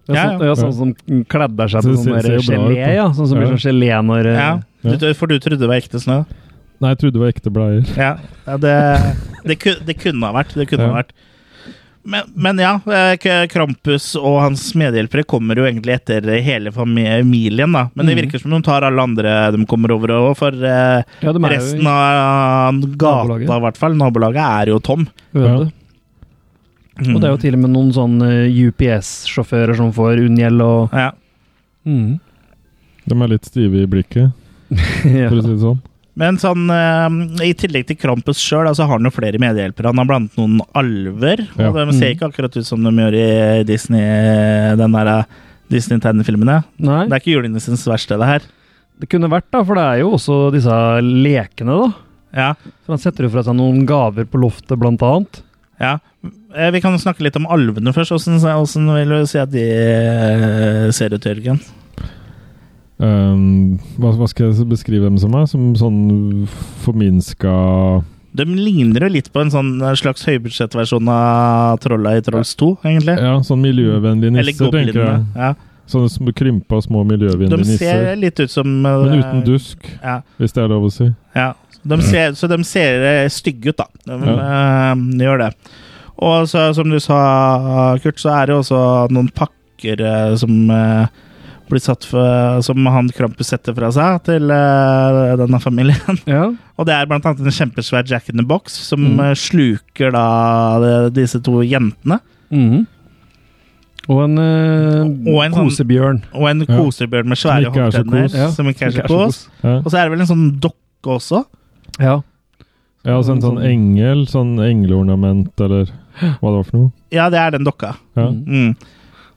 Det er Ja, sånn, ja, sånn som kledder seg Så på det sånn ser- ser der jo bra ut, gelé, da. ja. Sånn som blir Ja. sånn gelé når eh, ja. Ja. Du, for du trodde det var ekte snø? Nei, jeg trodde det var ekte bleier. Ja, ja det, det, ku, det kunne ha vært. Det kunne Ja. ha vært. Men, men ja, eh, K- Krampus og hans medhjelpere kommer jo egentlig etter hele familien, da. Men det Mhm. virker som de tar alle andre de kommer over òg, for eh, Ja, de er jo resten av eh, gata, nabolaget. i hvert fall, nabolaget, er jo tom. i øde. Mm. Og det er jo til og med noen sånne UPS-sjåfører som får unngjeld og ja. Mm. De er litt stive i blikket, ja. for å si det sånn. Men sånn, eh, i tillegg til Krampus sjøl, så har han jo flere medhjelpere. Han har blant noen alver, Ja. og de ser Mm. ikke akkurat ut som de gjør i Disney, den der eh, Disney-tegnefilmene. Nei, Det er ikke julenissens verksted, det her. det kunne vært, da, for det er jo også disse lekene, da. Ja, For han setter jo fra seg noen gaver på loftet, blant annet. ja. Eh, Vi kan jo snakke litt om alvene først. Åssen åssen vil du si at de eh, ser ut, Jørgen? Ehm, hva, hva skal jeg beskrive dem som? Er? Som sånn forminska De ligner jo litt på en sånn slags høybudsjettversjon av Trolla i Trolls 2, egentlig. Ja, sånn miljøvennlige Eller nisser, tenker goblinene. jeg. Ja. Sånne sm- krympa, små miljøvennlige De nisser. ser litt ut som eh, Men uten dusk, Ja. hvis det er lov å si. Ja, de ser, så de ser eh, stygge ut, da. De, eh, gjør det. Og så, som du sa, Kurt, så er det jo også noen pakker eh, som eh, blir satt for, som han Krampus setter fra seg til eh, denne familien. Ja. Og det er blant annet en kjempesvær Jack in the Box som Mm. eh, sluker da de- disse to jentene. Mhm. Og en, eh, Og en sånn- kosebjørn. Og en Ja. kosebjørn med svære Som ikke er så hofttenner kos. Ja, som ikke er så Ikke er så kos. Ja. Og så er det vel en sånn dokke også. Ja. Ja, altså en sånn engel, sånn engleornament, eller hva det var for noe. Ja, det er den dokka. Ja. Mm. Mm.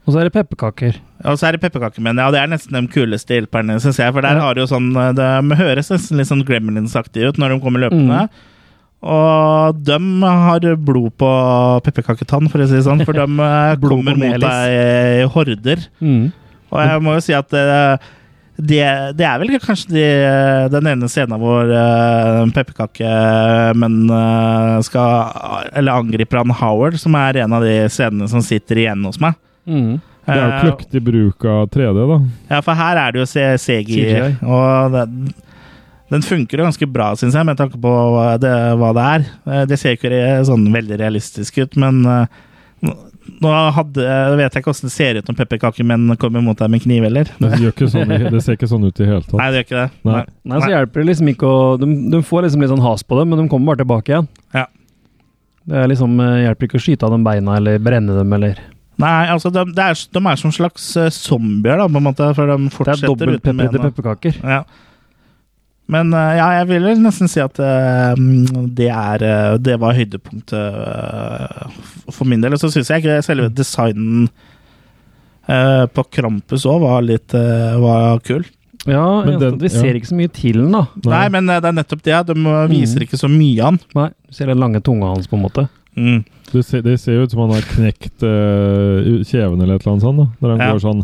Og så er det pepperkaker. Ja, Og så er det pepperkakemenn, ja. Og det er nesten de kuleste hjelperne, syns jeg. For der Ja. har de jo sånn eh, De høres nesten litt sånn Gremlins-aktige ut når de kommer løpende. Mm. Og de har blod på pepperkaketann, for å si det sånn. For de eh, Blod på kommer mot melis. deg i horder. Og jeg må jo si at eh, det, det er vel kanskje de, den ene scenen hvor uh, pepperkakemenn eh, skal Eller angriper han Howard, som er en av de scenene som sitter igjen hos meg. Mm. Det er jo Eh, kløktig bruk av 3D, da. Ja, for her er det jo C- CGI, CGI. og den, den funker jo ganske bra, syns jeg, med tanke på hva det, hva det er. Eh, Det ser jo ikke re- sånn veldig realistisk ut, men eh, nå- nå hadde, eh, vet jeg ikke åssen det ser ut når pepperkakemenn kommer mot deg med kniv, eller? Det, gjør ikke sånn, i- det ser ikke sånn ut i det hele tatt. Nei, det gjør ikke det. Nei. Nei, så hjelper det liksom ikke å De, de får liksom litt sånn has på dem, men de kommer bare tilbake igjen. Ja. Det er liksom, eh, hjelper ikke å skyte av dem beina eller brenne dem eller Nei, altså de, det er, de er som slags eh, zombier, da, på en måte. For de fortsetter dobbelt uten pepper til bena. pepperkaker. Ja. Men eh, ja, jeg vil vel nesten si at eh, mm, det er eh, Det var høydepunktet eh, f- for min del. Og så syns jeg ikke selve designen eh, på Krampus òg var litt eh, var kul. Ja, Men eneste den- at vi ja. ser ikke så mye til den, da. Nei, men eh, det er nettopp det. ja. De eh, viser ikke så mye av den. Nei, vi ser den lange tunga hans, på en måte. Mm. Det ser, det ser jo ut som han har knekt eh, kjeven eller et eller annet sånt, da. Når han Ja. går sånn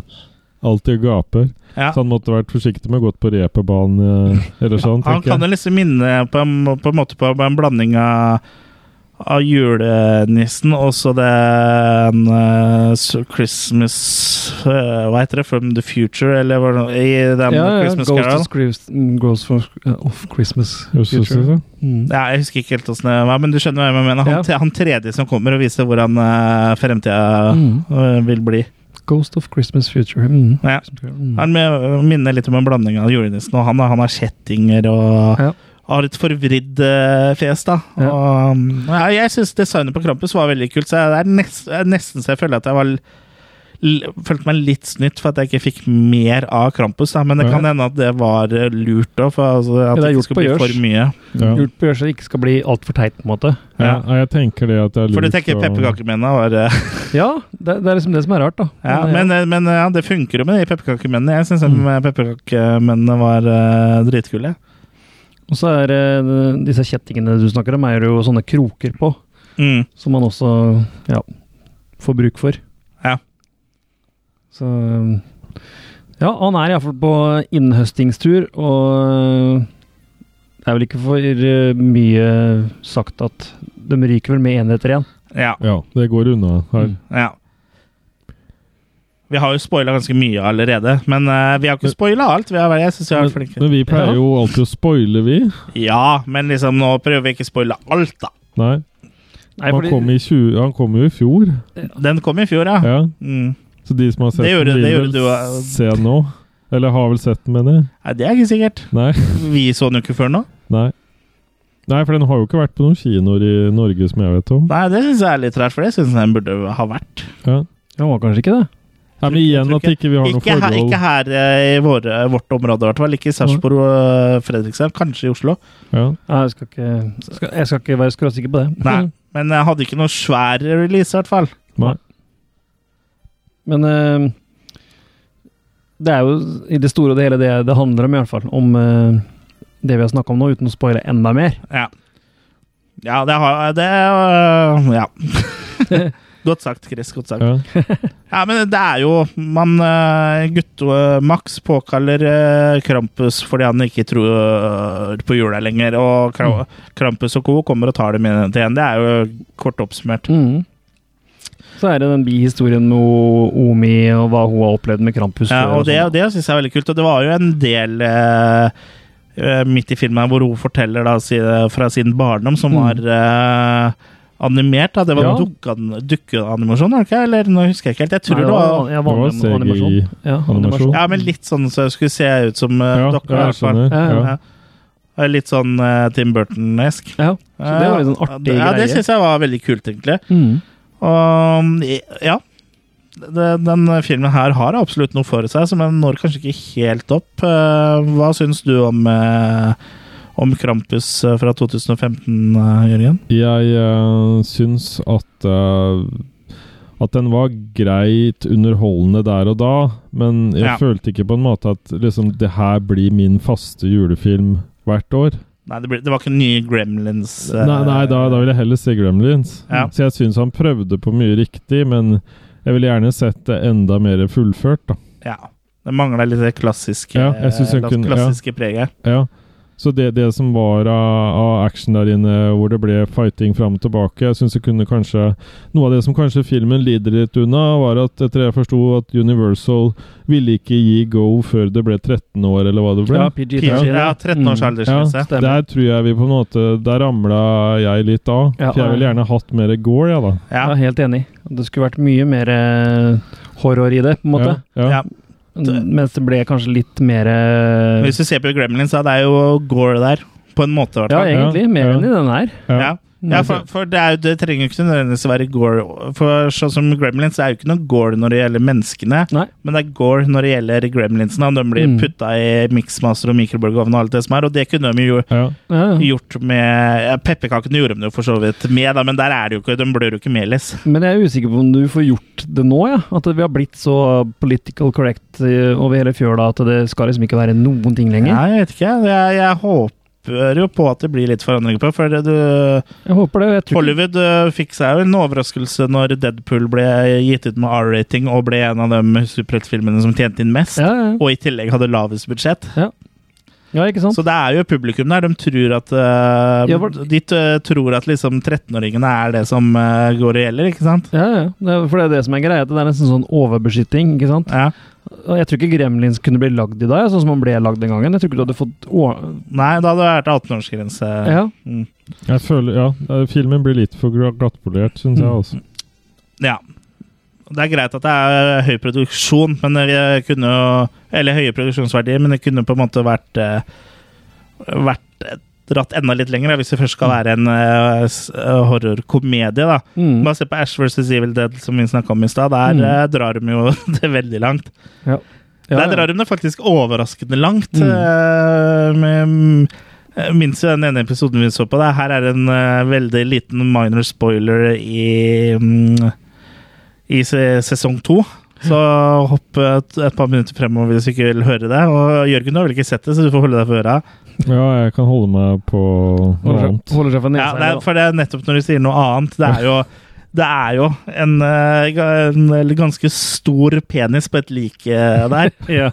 alltid og gaper. Ja. Så han måtte vært forsiktig med å gå på reperbanen eh, eller sånn, Han tenker kan jo jeg. liksom minne på en, på en måte på en blanding av, av julenissen og så den eh, s- Christmas eh, Hva heter det? From the Future, eller hva det I den Christmas Ghost Carol. of, Christ, Ghost for, of Christmas Mm, Jo, så- så- så. Ja, jeg husker ikke helt åssen det var, men du skjønner hva jeg mener. Han, Ja. te- han tredje som kommer og viser hvordan uh, fremtida Mm. eh, vil bli. Ghost of Christmas Future. Mm. Ja. Mm. Han me- minner litt om en blanding av julenissen og han. da. Han har kjettinger og Ja. har et forvridd eh, fjes, da. Ja. Og, um, ja, jeg syns designet på Krampus var veldig kult, så det er nest, jeg er nesten så jeg føler at jeg var l- l- Følte meg litt snytt for at jeg ikke fikk mer av Krampus, da. men det Ja. kan hende at det var eh, lurt òg. Altså, at Ja, det er det ikke gjort på skulle bli gjørs. for mye. Ja. Gjort på å gjøre så det ikke skal bli altfor teit, på en måte. Ja, ja, jeg tenker det at det er lurt For du tenker å- pepperkakemennene var eh, Ja, det, det er liksom det som er rart, da. ja, Men, eh, men eh, ja, det funker jo med de pepperkakemennene. Jeg syns Mm. pepperkakemennene var eh, dritkule. Og så er eh, disse kjettingene du snakker om, er det jo sånne kroker på, Mm. som man også ja, får bruk for. Ja. Så Ja, han er iallfall på innhøstingstur, og det er vel ikke for eh, mye sagt at de ryker vel med én etter én. Ja. Ja, det går unna her. Ja. Vi har jo spoila ganske mye allerede, men eh, vi har ikke spoila alt. Vi har, vært- jeg synes vi har vært flinke. Men vi pleier jo alltid å spoile, vi. Ja, men liksom nå prøver vi ikke å spoile alt, da. Nei. Nei, han, fordi- kom i 20, han kom jo i fjor. Den kom i fjor, ja. Ja. Mm. Så de som har sett Det gjorde- den, det vil gjorde du, ja. vel se den nå? Eller har vel sett den, mener jeg? Nei, det er ikke sikkert. Nei. Vi så den jo ikke før nå. Nei. Nei, for den har jo ikke vært på noen kinoer i Norge som jeg vet om. Nei, Det syns jeg er litt rart, for det syns jeg den burde ha vært. Ja. Han var kanskje ikke det? Nei, men igjen tror at ikke vi har noe Ikke her, forhold. ikke her eh, i våre, vårt område, i hvert fall. Ikke i Sarpsborg og eh, Fredrikstad. Kanskje i Oslo. Ja. Nei, jeg skal ikke, skal, jeg skal ikke være skråsikker på det. Nei. Men jeg hadde ikke noe svær release, i hvert fall. Nei. Men eh, det er jo i det store og det hele det det handler om, i hvert fall. Om eh, det vi har snakka om nå, uten å spoile enda mer. Ja. Ja, det har Det øh, Ja. godt sagt, Chris. Godt sagt. Ja. Ja, men det er jo Man øh, Gutte øh, Max påkaller øh, Krampus fordi han ikke tror øh, på jula lenger, og Kra- Krampus og co. kommer og tar dem inn til igjen. Det er jo kort oppsummert. Mm. Så er det den bihistorien med O- Omi og hva hun har opplevd med Krampus. Ja, før og det, sånn. det syns jeg er veldig kult. Og det var jo en del eh, eh, midt i filmen hvor hun forteller da, si, eh, fra sin barndom, som var eh, animert. Da. Det var Mm. Ja. noe dukkean- dukkeanimasjon, var det ikke? Eller nå husker jeg ikke helt. Jeg tror Nei, det var ja, Det var vanlig animasjon. CGI. Ja, animasjon. Ja, men litt sånn så jeg skulle se ut som uh, Ja, dokka. i jeg hvert fall. skjønner. Ja, Ja. Ja. Og Litt sånn eh, Tim Burton-esk. Ja, så det var litt sånn Ja, artig det- ja, greie. det syns jeg var veldig kult, egentlig. Mm. Og ja. Det- Den filmen her har absolutt noe for seg, så den når kanskje ikke helt opp. Eh, Hva syns du om, eh, om Krampus eh, fra 2015, eh, Jørgen? Jeg eh, syns at eh, at den var greit underholdende der og da, men jeg Ja. følte ikke på en måte at liksom, det her blir min faste julefilm hvert år. Nei, det, ble, det var ikke nye Gremlins. eh, Nei, nei da, da vil jeg heller se Gremlins. Ja. Så jeg syns han prøvde på mye riktig, men jeg ville gjerne sett det enda mer fullført, da. Ja. Det mangla litt det klassiske, Ja, jeg synes den eh, kunne- ja. klassiske preget. Ja. Så det, det som var av, av action der inne, hvor det ble fighting fram og tilbake jeg synes det kunne kanskje, Noe av det som kanskje filmen lider litt unna, var at etter jeg forsto at Universal ville ikke gi go før det ble 13 år, eller hva det ble. Ja, PG-13. Peach, ja, 13 års Mm. aldersgrense. stemmer. Der tror jeg vi på en måte Der ramla jeg litt av. Ja, for jeg ville gjerne hatt mer gore, jeg, da. Jeg Ja. er helt enig. Det skulle vært mye mer eh, horror i det, på en måte. Ja, ja. Ja. Mens det ble kanskje litt mer eh, Hvis du ser på Gremlins, så er det jo gore der. På en måte, i hvert Ja, fall. jeg- egentlig. Ja, Mer ja. enn i den her. ja. Ja. Ja, for, for det, er jo, det trenger jo ikke nødvendigvis være gore. For sånn som Gremlins er jo ikke noe gore når det gjelder menneskene, Nei. men det er gore når det gjelder Gremlinsene. og De blir Mm. putta i miksmaster og mikrobølgeovn og alt det som er, og det kunne de jo Ja. Ja, ja. gjort med ja, Pepperkakene gjorde de jo for så vidt med, da, men der er det jo ikke, de blør jo ikke melis. Men jeg er usikker på om du får gjort det nå, ja. At vi har blitt så political correct eh, over hele fjøla at det skal liksom ikke være noen ting lenger. Ja, jeg vet ikke. Jeg, jeg håper jo på at det blir litt forandring på, for det du Jeg håper det. og Jeg tror ikke- Hollywood øh, fikk seg jo en overraskelse når Deadpool ble gitt ut med R-rating og ble en av de superheltfilmene som tjente inn mest, Ja, ja. og i tillegg hadde lavest budsjett. ja, ikke sant? Så det er jo publikum der. De tror at øh, Ja, hvor- De øh, tror at liksom 13-åringene er det som øh, går og gjelder, ikke sant? Ja, ja. Det er, for det er det som er greia. at Det er nesten sånn overbeskytting. ikke sant? Ja. Og Jeg tror ikke Gremlins kunne bli lagd i dag, sånn som han ble lagd den gangen. Jeg tror ikke du hadde fått å- Nei, da hadde det vært 18-årsgrense. Ja. Mm. Jeg føler, ja, eh, filmen blir litt for gra- glattpolert, Mm. syns jeg altså. også. ja. Det er greit at det er øh, høy produksjon, men det kunne jo Eller høye produksjonsverdier, men det kunne på en måte vært øh, vært øh, dratt enda litt lenger, da, hvis det først skal være en øh, s- øh, horrorkomedie, da. Mm. Bare se på Ash vs. Evil Dead, som vi snakka om i stad. Der Mm. eh, drar de jo det veldig langt. Ja, Der ja. drar de det faktisk overraskende langt. Mm. eh, med- jeg minnes jo den ene episoden vi så på. Da. Her er det en eh, veldig liten minor spoiler i, mm, i se sesong to. Så hopp et, et par minutter fremover hvis du ikke vil høre det. Og Jørgen, du har vel ikke sett det, så du får holde deg for øra. Ja, jeg kan holde meg på noe Holder annet. seg- holder seg for Ja, nesa. det Ja, er, for det er nettopp når du sier noe annet. Det er jo, det er jo en, eh, ga- en ganske stor penis på et like eh, der. Ja.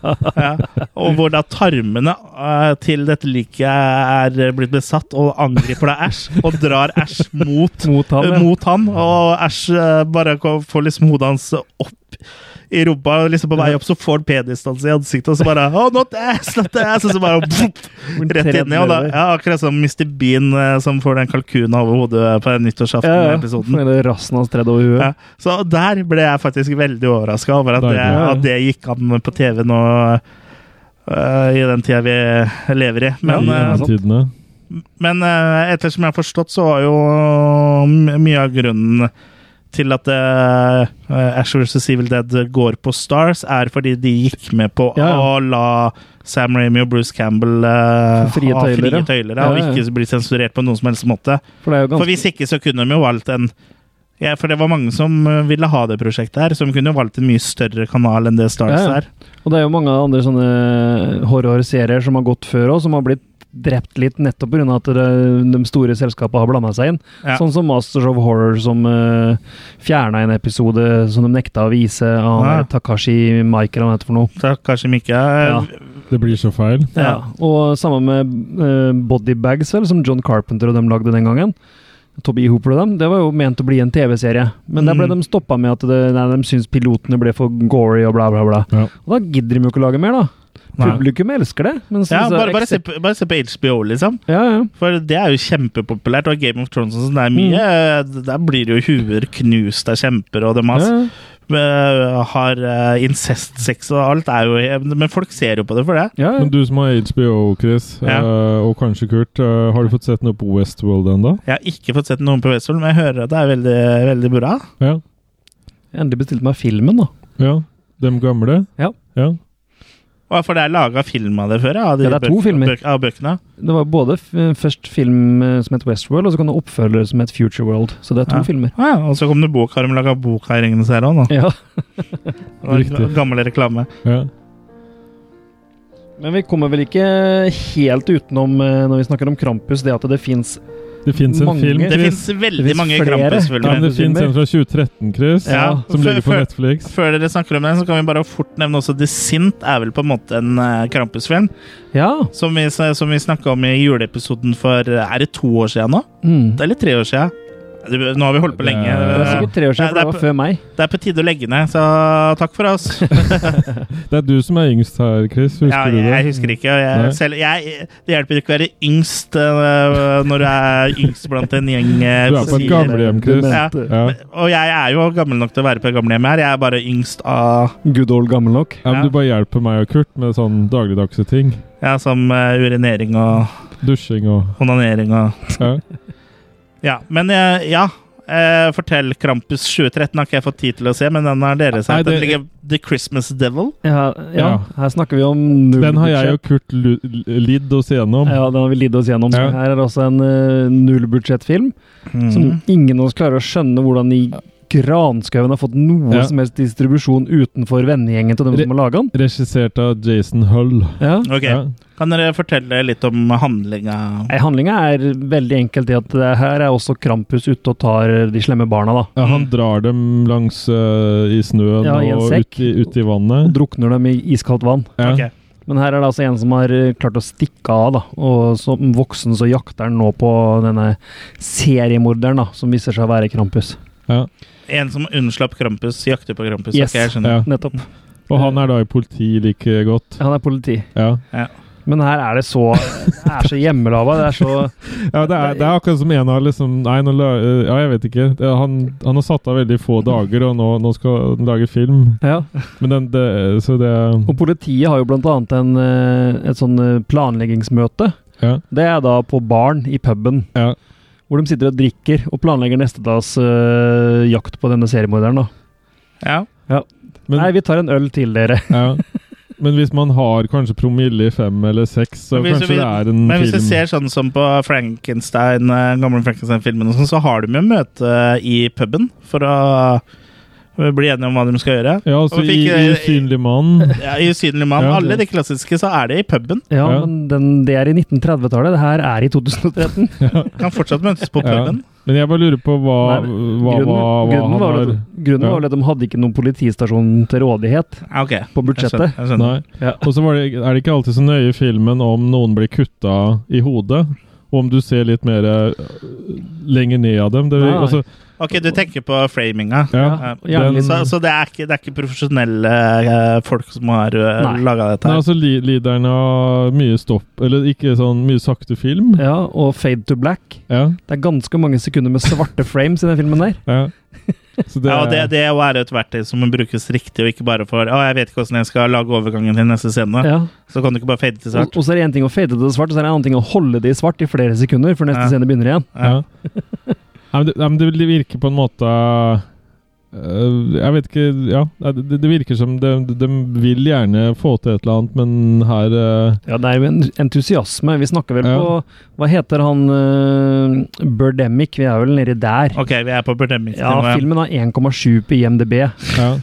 Og hvor da tarmene eh, til dette liket er blitt besatt og angriper da Æsj, og drar Æsj mot, Mot han, eh, ja. mot han. Og Æsj eh, bare ko- får liksom hodet hans opp i rumpa, og liksom på vei opp så får han penisdans i ansiktet, og så bare Oh, not ass, not ass! Og så bare pff, rett inni. Og da, ja, akkurat som Mr. Bean eh, som får den kalkunen over hodet på ja, ja. nyttårsaften-episoden. Eller rassen hans tredd over huet. Ja. Så der ble jeg faktisk veldig overraska over at Deilig. det, at det gikk an på TV nå øh, i den tida vi lever i. Men, I øh, gjennomtidene. men øh, ettersom jeg har forstått, så var jo m- mye av grunnen til at uh, Ash vs. Evil Dead går på Stars, er fordi de gikk med på Ja, ja. å la Sam Ramy og Bruce Campbell øh, Frie ha frie tøyler, ja. tøyler, Ja, ja. og ikke bli sensurert på noen som helst måte. For det er jo For ganske hvis ikke så kunne de jo valgt en ja, For det var mange som eh, ville ha det prosjektet her, så de kunne jo valgt en mye større kanal enn det Stars Ja, ja. er. Og det er jo mange andre sånne horrorserier som har gått før òg, som har blitt drept litt nettopp pga. at det, de store selskapene har blanda seg inn. Ja. Sånn som Masters of Horror, som uh, fjerna en episode som de nekta å vise av Ja. Takashi Michael, han heter for noe. Så kanskje de ikke eh, Ja. Det blir så feil. Ja. Ja. Og samme med eh, Body Bags, vel, som John Carpenter og dem lagde den gangen. Toby Hooper og dem. Det var jo ment å bli en TV-serie, men der ble Mm. de stoppa med at det, nei, de syntes pilotene ble for gory og bla, bla, bla. Ja. Og da gidder de jo ikke å lage mer, da. Nei. Publikum elsker det. mens Ja, disse bare, bare, se, ekse- på- bare se på HBO, liksom. Ja, ja. For det er jo kjempepopulært. Og Game of Thrones og sånn, det er mye eh, Der blir det jo huer knust av kjemper og dem. Mm. ja. Altså. ja. Eh, Har eh, incestsex og alt er jo Men folk ser jo på det for det. ja, ja. Men du som har HBO, Chris, Ja. eh, og kanskje Kurt, eh, har du fått sett noe på Westworld ennå? Jeg har ikke fått sett noen på Westfold, men jeg hører at det er veldig, veldig bra. Ja. Jeg endelig bestilte meg filmen, da. ja. Dem gamle? Ja. ja. Og For det er laga film av det før? ja, Av de Ja, det er to bøk- filmer. bøk- Av bøkene? Det var både f først film eh, som het Westworld, og så kan det oppfølge som het Future World. Så det er to Ja. filmer. Ah, ja, og så kom det bok. Har de laga bok her i Ringenes herre òg, nå? Ja. Det var Riktig. en Gammel reklame. ja. Men vi kommer vel ikke helt utenom, eh, når vi snakker om Krampus, det at det fins Det fins en Mange. film, Det Chris. fins det veldig finnes mange flere. Ja, men Krampus-filmer. det fins en fra 2013, Chris, Ja. som Før- ligger på før- Netflix. Før dere snakker om den, så kan vi bare fort nevne også The Sint er vel på en måte en eh, Krampus-film. Ja. Som vi, som vi snakka om i juleepisoden for Er det to år siden nå? Mm. Eller tre år siden? Det- Nå har vi holdt på Det er- lenge. Det er sikkert tre år siden, Eh, Nei, det for det er var før meg. Det er på tide å legge ned, så takk for oss. Det er du som er yngst her, Chris. Husker Ja, du det? jeg husker ikke. og Nei. Jeg, selv, jeg, det hjelper ikke å være yngst eh, når du er yngst blant en gjeng eh, Du er på et fossiler. gamlehjem, Chris. Ja. Ja. Og jeg er jo gammel nok til å være på gamlehjem her. Jeg er bare yngst av Good old gammel nok. Ja, Ja. men du bare hjelper meg og Kurt med sånn dagligdagse ting. ja, som eh, urinering og Dusjing og onanering og ja. Ja, men eh, ja. Eh, fortell Krampus 2013 har ikke jeg fått tid til å se, men den har dere sett. Nei, det- Den ligger The Christmas Devil. Ja, ja, Ja. her snakker vi om null Den har jeg budsjett. og Kurt lu- lidd oss igjennom. Ja, den har vi lidd oss gjennom. Ja. Her er også en uh, nullbudsjettfilm Mm. som Mm. ingen av oss klarer å skjønne hvordan i granskauen har fått noe Ja. som helst distribusjon utenfor vennegjengen til dem Re- som har laga den. Regissert av Jason Hull. Ja. Ok, Ja. Kan dere fortelle litt om handlinga? Handlinga er veldig enkelt i at det her er også Krampus ute og tar de slemme barna, da. Ja, han drar dem langs øh, i snøen Ja, i en og sekk. ut i, ut i Og vannet. drukner dem i iskaldt vann. Ja. Ok. Men her er det altså en som har eh, klart å stikke av, da. Og som voksen så jakter han nå på denne seriemorderen, da, som viser seg å være Krampus. Ja. En som unnslapp Krampus, jakter på Krampus. Yes. Ok, jeg skjønner. Ja. Nettopp. Og han er da i politi like godt. Han er politi. Ja, Men her er det så Det er så hjemmelaga. Det er så ja det, er, det er akkurat som en har liksom Nei, nå la, øh, ja, jeg vet ikke. Det er- Han, han har satt av veldig få dager, og nå, nå skal han lage film. Ja. Men den, det, så det Og politiet har jo blant annet en, eh, et sånn eh, planleggingsmøte. Ja. Det er da på baren i puben. Ja. Hvor de sitter og drikker og planlegger neste dags eh, jakt på denne seriemorderen. da. Ja. Men, Nei, vi tar en øl til, dere. ja. Men hvis man har kanskje promille i fem eller seks, så Men hvis kanskje vi- det er en Men hvis du film. ser sånn som på Frankenstein, eh, gamle Frankenstein-filmen, og sånn, så har de jo møte eh, i puben for å eh, bli enige om hva de skal gjøre. ja, altså Og vi i, fikk, i eh, Usynlig mann. Ja, I Usynlig mann. Ja, Alle ja. de klassiske, så er det i puben. Ja, Ja. men den, det er i 1930-tallet. Det her er i 2013. Kan fortsatt møtes på Ja. puben. Men jeg bare lurer på hva, Nei, hva, grunnen, hva, hva grunnen, han var vel har at, grunnen Ja. var vel at de hadde ikke noen politistasjon til rådighet Ja, ok. på Jeg budsjettet. skjønner. Jeg skjønner. Nei. Ja. Og så var det- er det ikke alltid så nøye i filmen om noen blir kutta i hodet. Og om du ser litt mer øh, lenger ned av dem. Det, Nei, nei. altså, Ok, du tenker på framinga. ja. Ja, gjerne litt så, så det er ikke, det er ikke profesjonelle eh, folk som har uh, Nei. laga dette? Nei, her altså li, Lideren har mye stopp Eller ikke sånn mye sakte film. Ja, og Fade to Black. Ja. Det er ganske mange sekunder med svarte frames i den filmen der. ja. Så det, Ja, og det, det er jo et verktøy som må brukes riktig, og ikke bare for Å, jeg vet ikke hvordan jeg skal lage overgangen til neste scene. Ja. Så kan du ikke bare fade til Og, svart. og så er det én ting å fade det til svart, og så er det en annen ting å holde det i svart i flere sekunder før neste Ja. scene begynner igjen. ja. Nei, men det, nei, men det virker på en måte øh, Jeg vet ikke Ja, Nei, det, det virker som de, de vil gjerne få til et eller annet, men her øh, Ja, det er jo en entusiasme. Vi snakker vel Ja. på Hva heter han uh, Birdemic? Vi er vel nedi der. Ok, vi er på Ja, bordemmingsnivået. filmen har 1,7 på IMDb. Ja.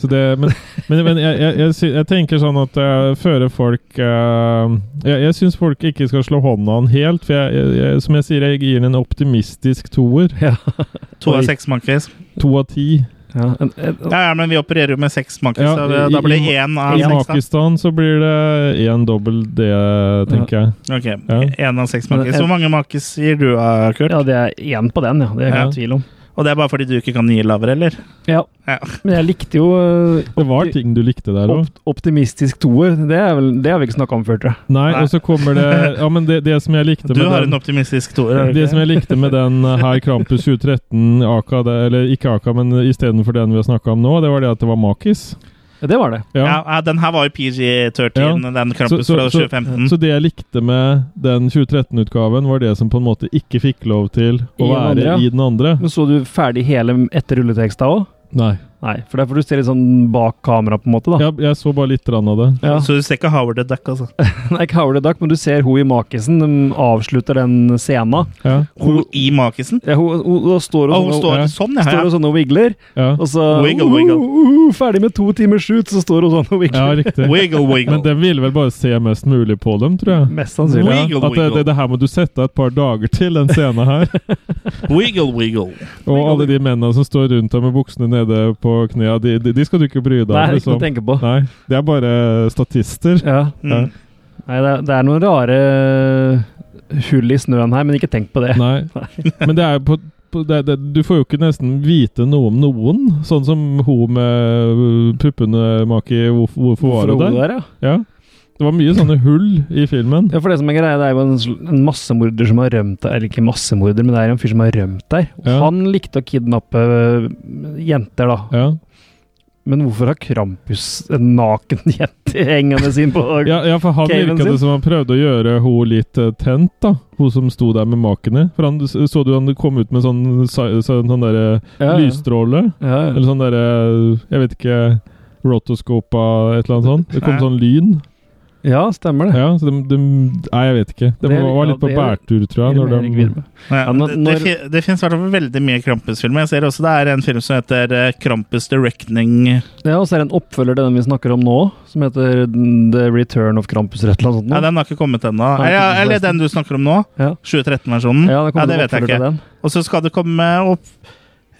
Så det, men men, men jeg, jeg, jeg, sy- jeg tenker sånn at jeg fører folk eh, Jeg, jeg syns folk ikke skal slå hånda an helt, for jeg, jeg, jeg, som jeg sier, jeg gir den en optimistisk toer. to av Oi. seks monkeys. To av ti. Ja, en, en, Ja, ja, men vi opererer jo med seks monkeys, Ja, så det, da i- blir i- det én av I seks. Makistan så blir det én dobbel det, tenker jeg. da. Ok, Ja. en av seks Men monkeys. en- Hvor mange monkeys gir du, ah, Kurt? ja det er én på den, ja. Det er jeg Ja. ikke i tvil om. Og det er bare fordi du ikke kan gi lavere, eller? Ja. Ja. Men jeg likte jo eh, Det var ting du likte der òg. opp, optimistisk toer. Det, er vel, det har vi ikke snakka om før, tror jeg. Nei, Nei. og så kommer det Ja, men det, det som jeg likte Du med har den- en optimistisk toer. har du Det ikke? som jeg likte med den eh, her Krampus 2013, Aka, det, eller ikke Aka, men istedenfor den vi har snakka om nå, det var det at det var Makis. Ja, det var det. Ja, ja, den her var jo PG-13, den Krampus Så- fra så- så- 2015. Så det jeg likte med den 2013-utgaven, var det som på en måte ikke fikk lov til I å den være andre, ja. i den andre. Men så du ferdig hele etter rulleteksta òg? Nei. Nei, for der får du se litt sånn bak kamera, på en måte. da. Jeg, jeg så bare litt grann av det. Ja. Så du ser ikke Howard the Duck, altså? Nei, ikke Howard the Duck, men du ser hun i makisen. De avslutter den scena. Ja, Hun i makisen? Ja, hun, hun, hun står Å, hun og sånn og, står ja. sånn, ja. står ja. og, sånn og wigler, ja. og så Wiggle, wiggle. Uh, uh, Ferdig med to timers shoot, så står hun sånn ja og wigler. riktig. Wiggle, wiggle. Men den ville vel bare se mest mulig på dem, tror jeg. Mest sannsynlig. Ja, Wiggle, at det, det, det her må du sette et par dager til, den scenen her. Wiggle, wiggle. Og alle de mennene som står rundt deg med buksene nede på knea, de, de, de skal du ikke bry deg Nei, om. ikke noe å Liksom. tenke på. Nei, de er bare statister. Ja. Ja. Mm. Nei, det, er- det er noen rare hull i snøen her, men ikke tenk på det. Nei. Men det er jo på, på det, det, Du får jo ikke nesten vite noe om noen. Sånn som hun med øh, puppene, Maki. Hvorfor, hvorfor var hun Hvorfor der? der, ja. Ja. Det var mye sånne hull i filmen. Ja, for det som er greia, det er jo en, sl- en massemorder som har rømt der, eller ikke massemorder, men det er en fyr som har rømt der. Og Ja. han likte å kidnappe øh, jenter, da. Ja. Men hvorfor har Krampus en naken jente? hengende inn på Ja, ja, for han caven virka det sin. som han prøvde å gjøre henne litt eh, tent, da. Hun som sto der med makene. For han, så du han kom ut med sånn, sånn, sånn derre Ja, ja. lysstråle? Ja, ja. Eller sånn derre Jeg vet ikke Rotoscopa, et eller annet sånt. Det kom Nei. sånn lyn. ja, stemmer det. Ja, så de, de, Nei, jeg vet ikke. De Det er- var, var litt ja, på det er- bærtur, tror jeg. Erik Når de, Virve. Ja, Ja, når- det, det, fi- det finnes i hvert fall veldig mye Krampus-filmer. Jeg ser også det er en film som heter eh, Krampus The Reckoning. Ja, og så er det en oppfølger til den vi snakker om nå, som heter The Return of Krampus, eller et Ja, eller annet sånt. den har ikke kommet ennå. Nei, ikke Ja, kommet eller forresten. den du snakker om nå. Ja. 2013-versjonen. nå. ja, det kommer vet en jeg oppfølger ikke. til den. Og så skal det komme opp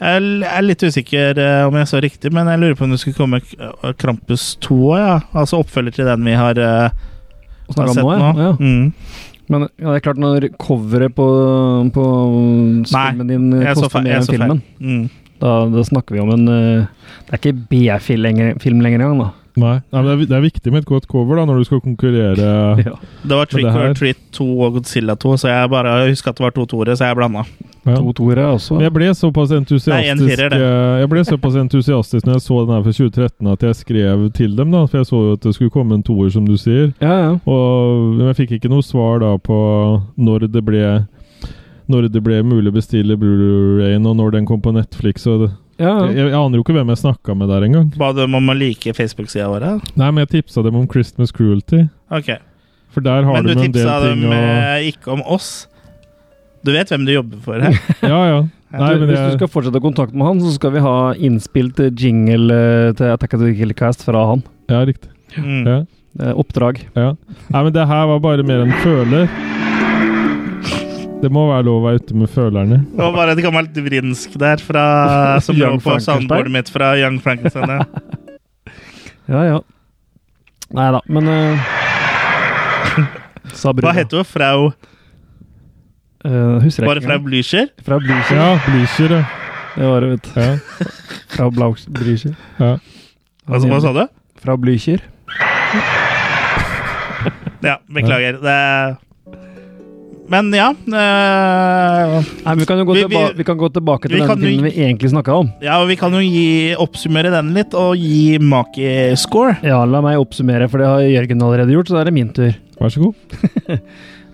Jeg l- jeg er litt usikker eh, om jeg så riktig, men jeg lurer på om det skulle komme K- eh, Krampus 2 òg, ja. Altså oppfølger til den vi har, eh, Og har snakker sett om nå, nå. ja. ja. Mm. Men ja, det er klart, når coveret på, på filmen din jeg så koster feil- mer jeg enn så feil. filmen, Mm. da, da snakker vi om en eh, Det er ikke B-film lenger, film lenger engang, da. nei, nei, men det er, det er viktig med et godt cover da, når du skal konkurrere. Ja. Det var Trick det her- or Treat 2 og Godzilla 2, så jeg bare husker at det var to toere, så jeg blanda. Ja. To toere også. Men jeg ble såpass entusiastisk Nei, en firer, det. eh, Jeg ble såpass entusiastisk når jeg så den her fra 2013 at jeg skrev til dem, da. For jeg så jo at det skulle komme en toer, som du sier. Ja, ja. Og men jeg fikk ikke noe svar da på når det ble når det ble mulig å bestille Blu-rayen, og når den kom på Netflix. Og det, ja, jeg, ja. jeg aner jo ikke hvem jeg snakka med der engang. Ba dem om å like Facebook-sida vår? da? Nei, men jeg tipsa dem om Christmas Cruelty. Ok. For der har Men du de en del tipsa ting dem å eh, ikke om oss. Du vet hvem du jobber for her? Ja, ja. Nei, du, men hvis du jeg, skal fortsette kontakt med han, så skal vi ha innspilt eh, jingle eh, til Attack of the Killer Cast fra han. ja, riktig. Mm. Ja. Eh, oppdrag. Ja. Nei, men det her var bare mer en føler. Det må være lov å være ute med følerne. Det var bare et gammelt vrinsk der fra, som lå Young på Frankenstein. soundboardet mitt fra Young Frankenstein. ja. Ja, ja. Nei da, men eh, Sa Hva brura. heter hun? Frau Eh, husker jeg Bare ikke Frau engang. Blücher? Fra Blücher. Ja, Blücher, ja. Det var det, vet du. ja. Fra Blaus- Blücher. ja. Altså, hva sa du? Fra Blücher. Ja, beklager. Det Men ja eh, Nei, men vi kan jo gå, Vi- vi- tilba vi kan gå tilbake til vi den kan jo filmen vi egentlig snakka om. Ja, og vi kan jo gi, oppsummere den litt, og gi Maki-score. Ja, la meg oppsummere, for det har Jørgen allerede gjort, så da er det min tur. Vær så god.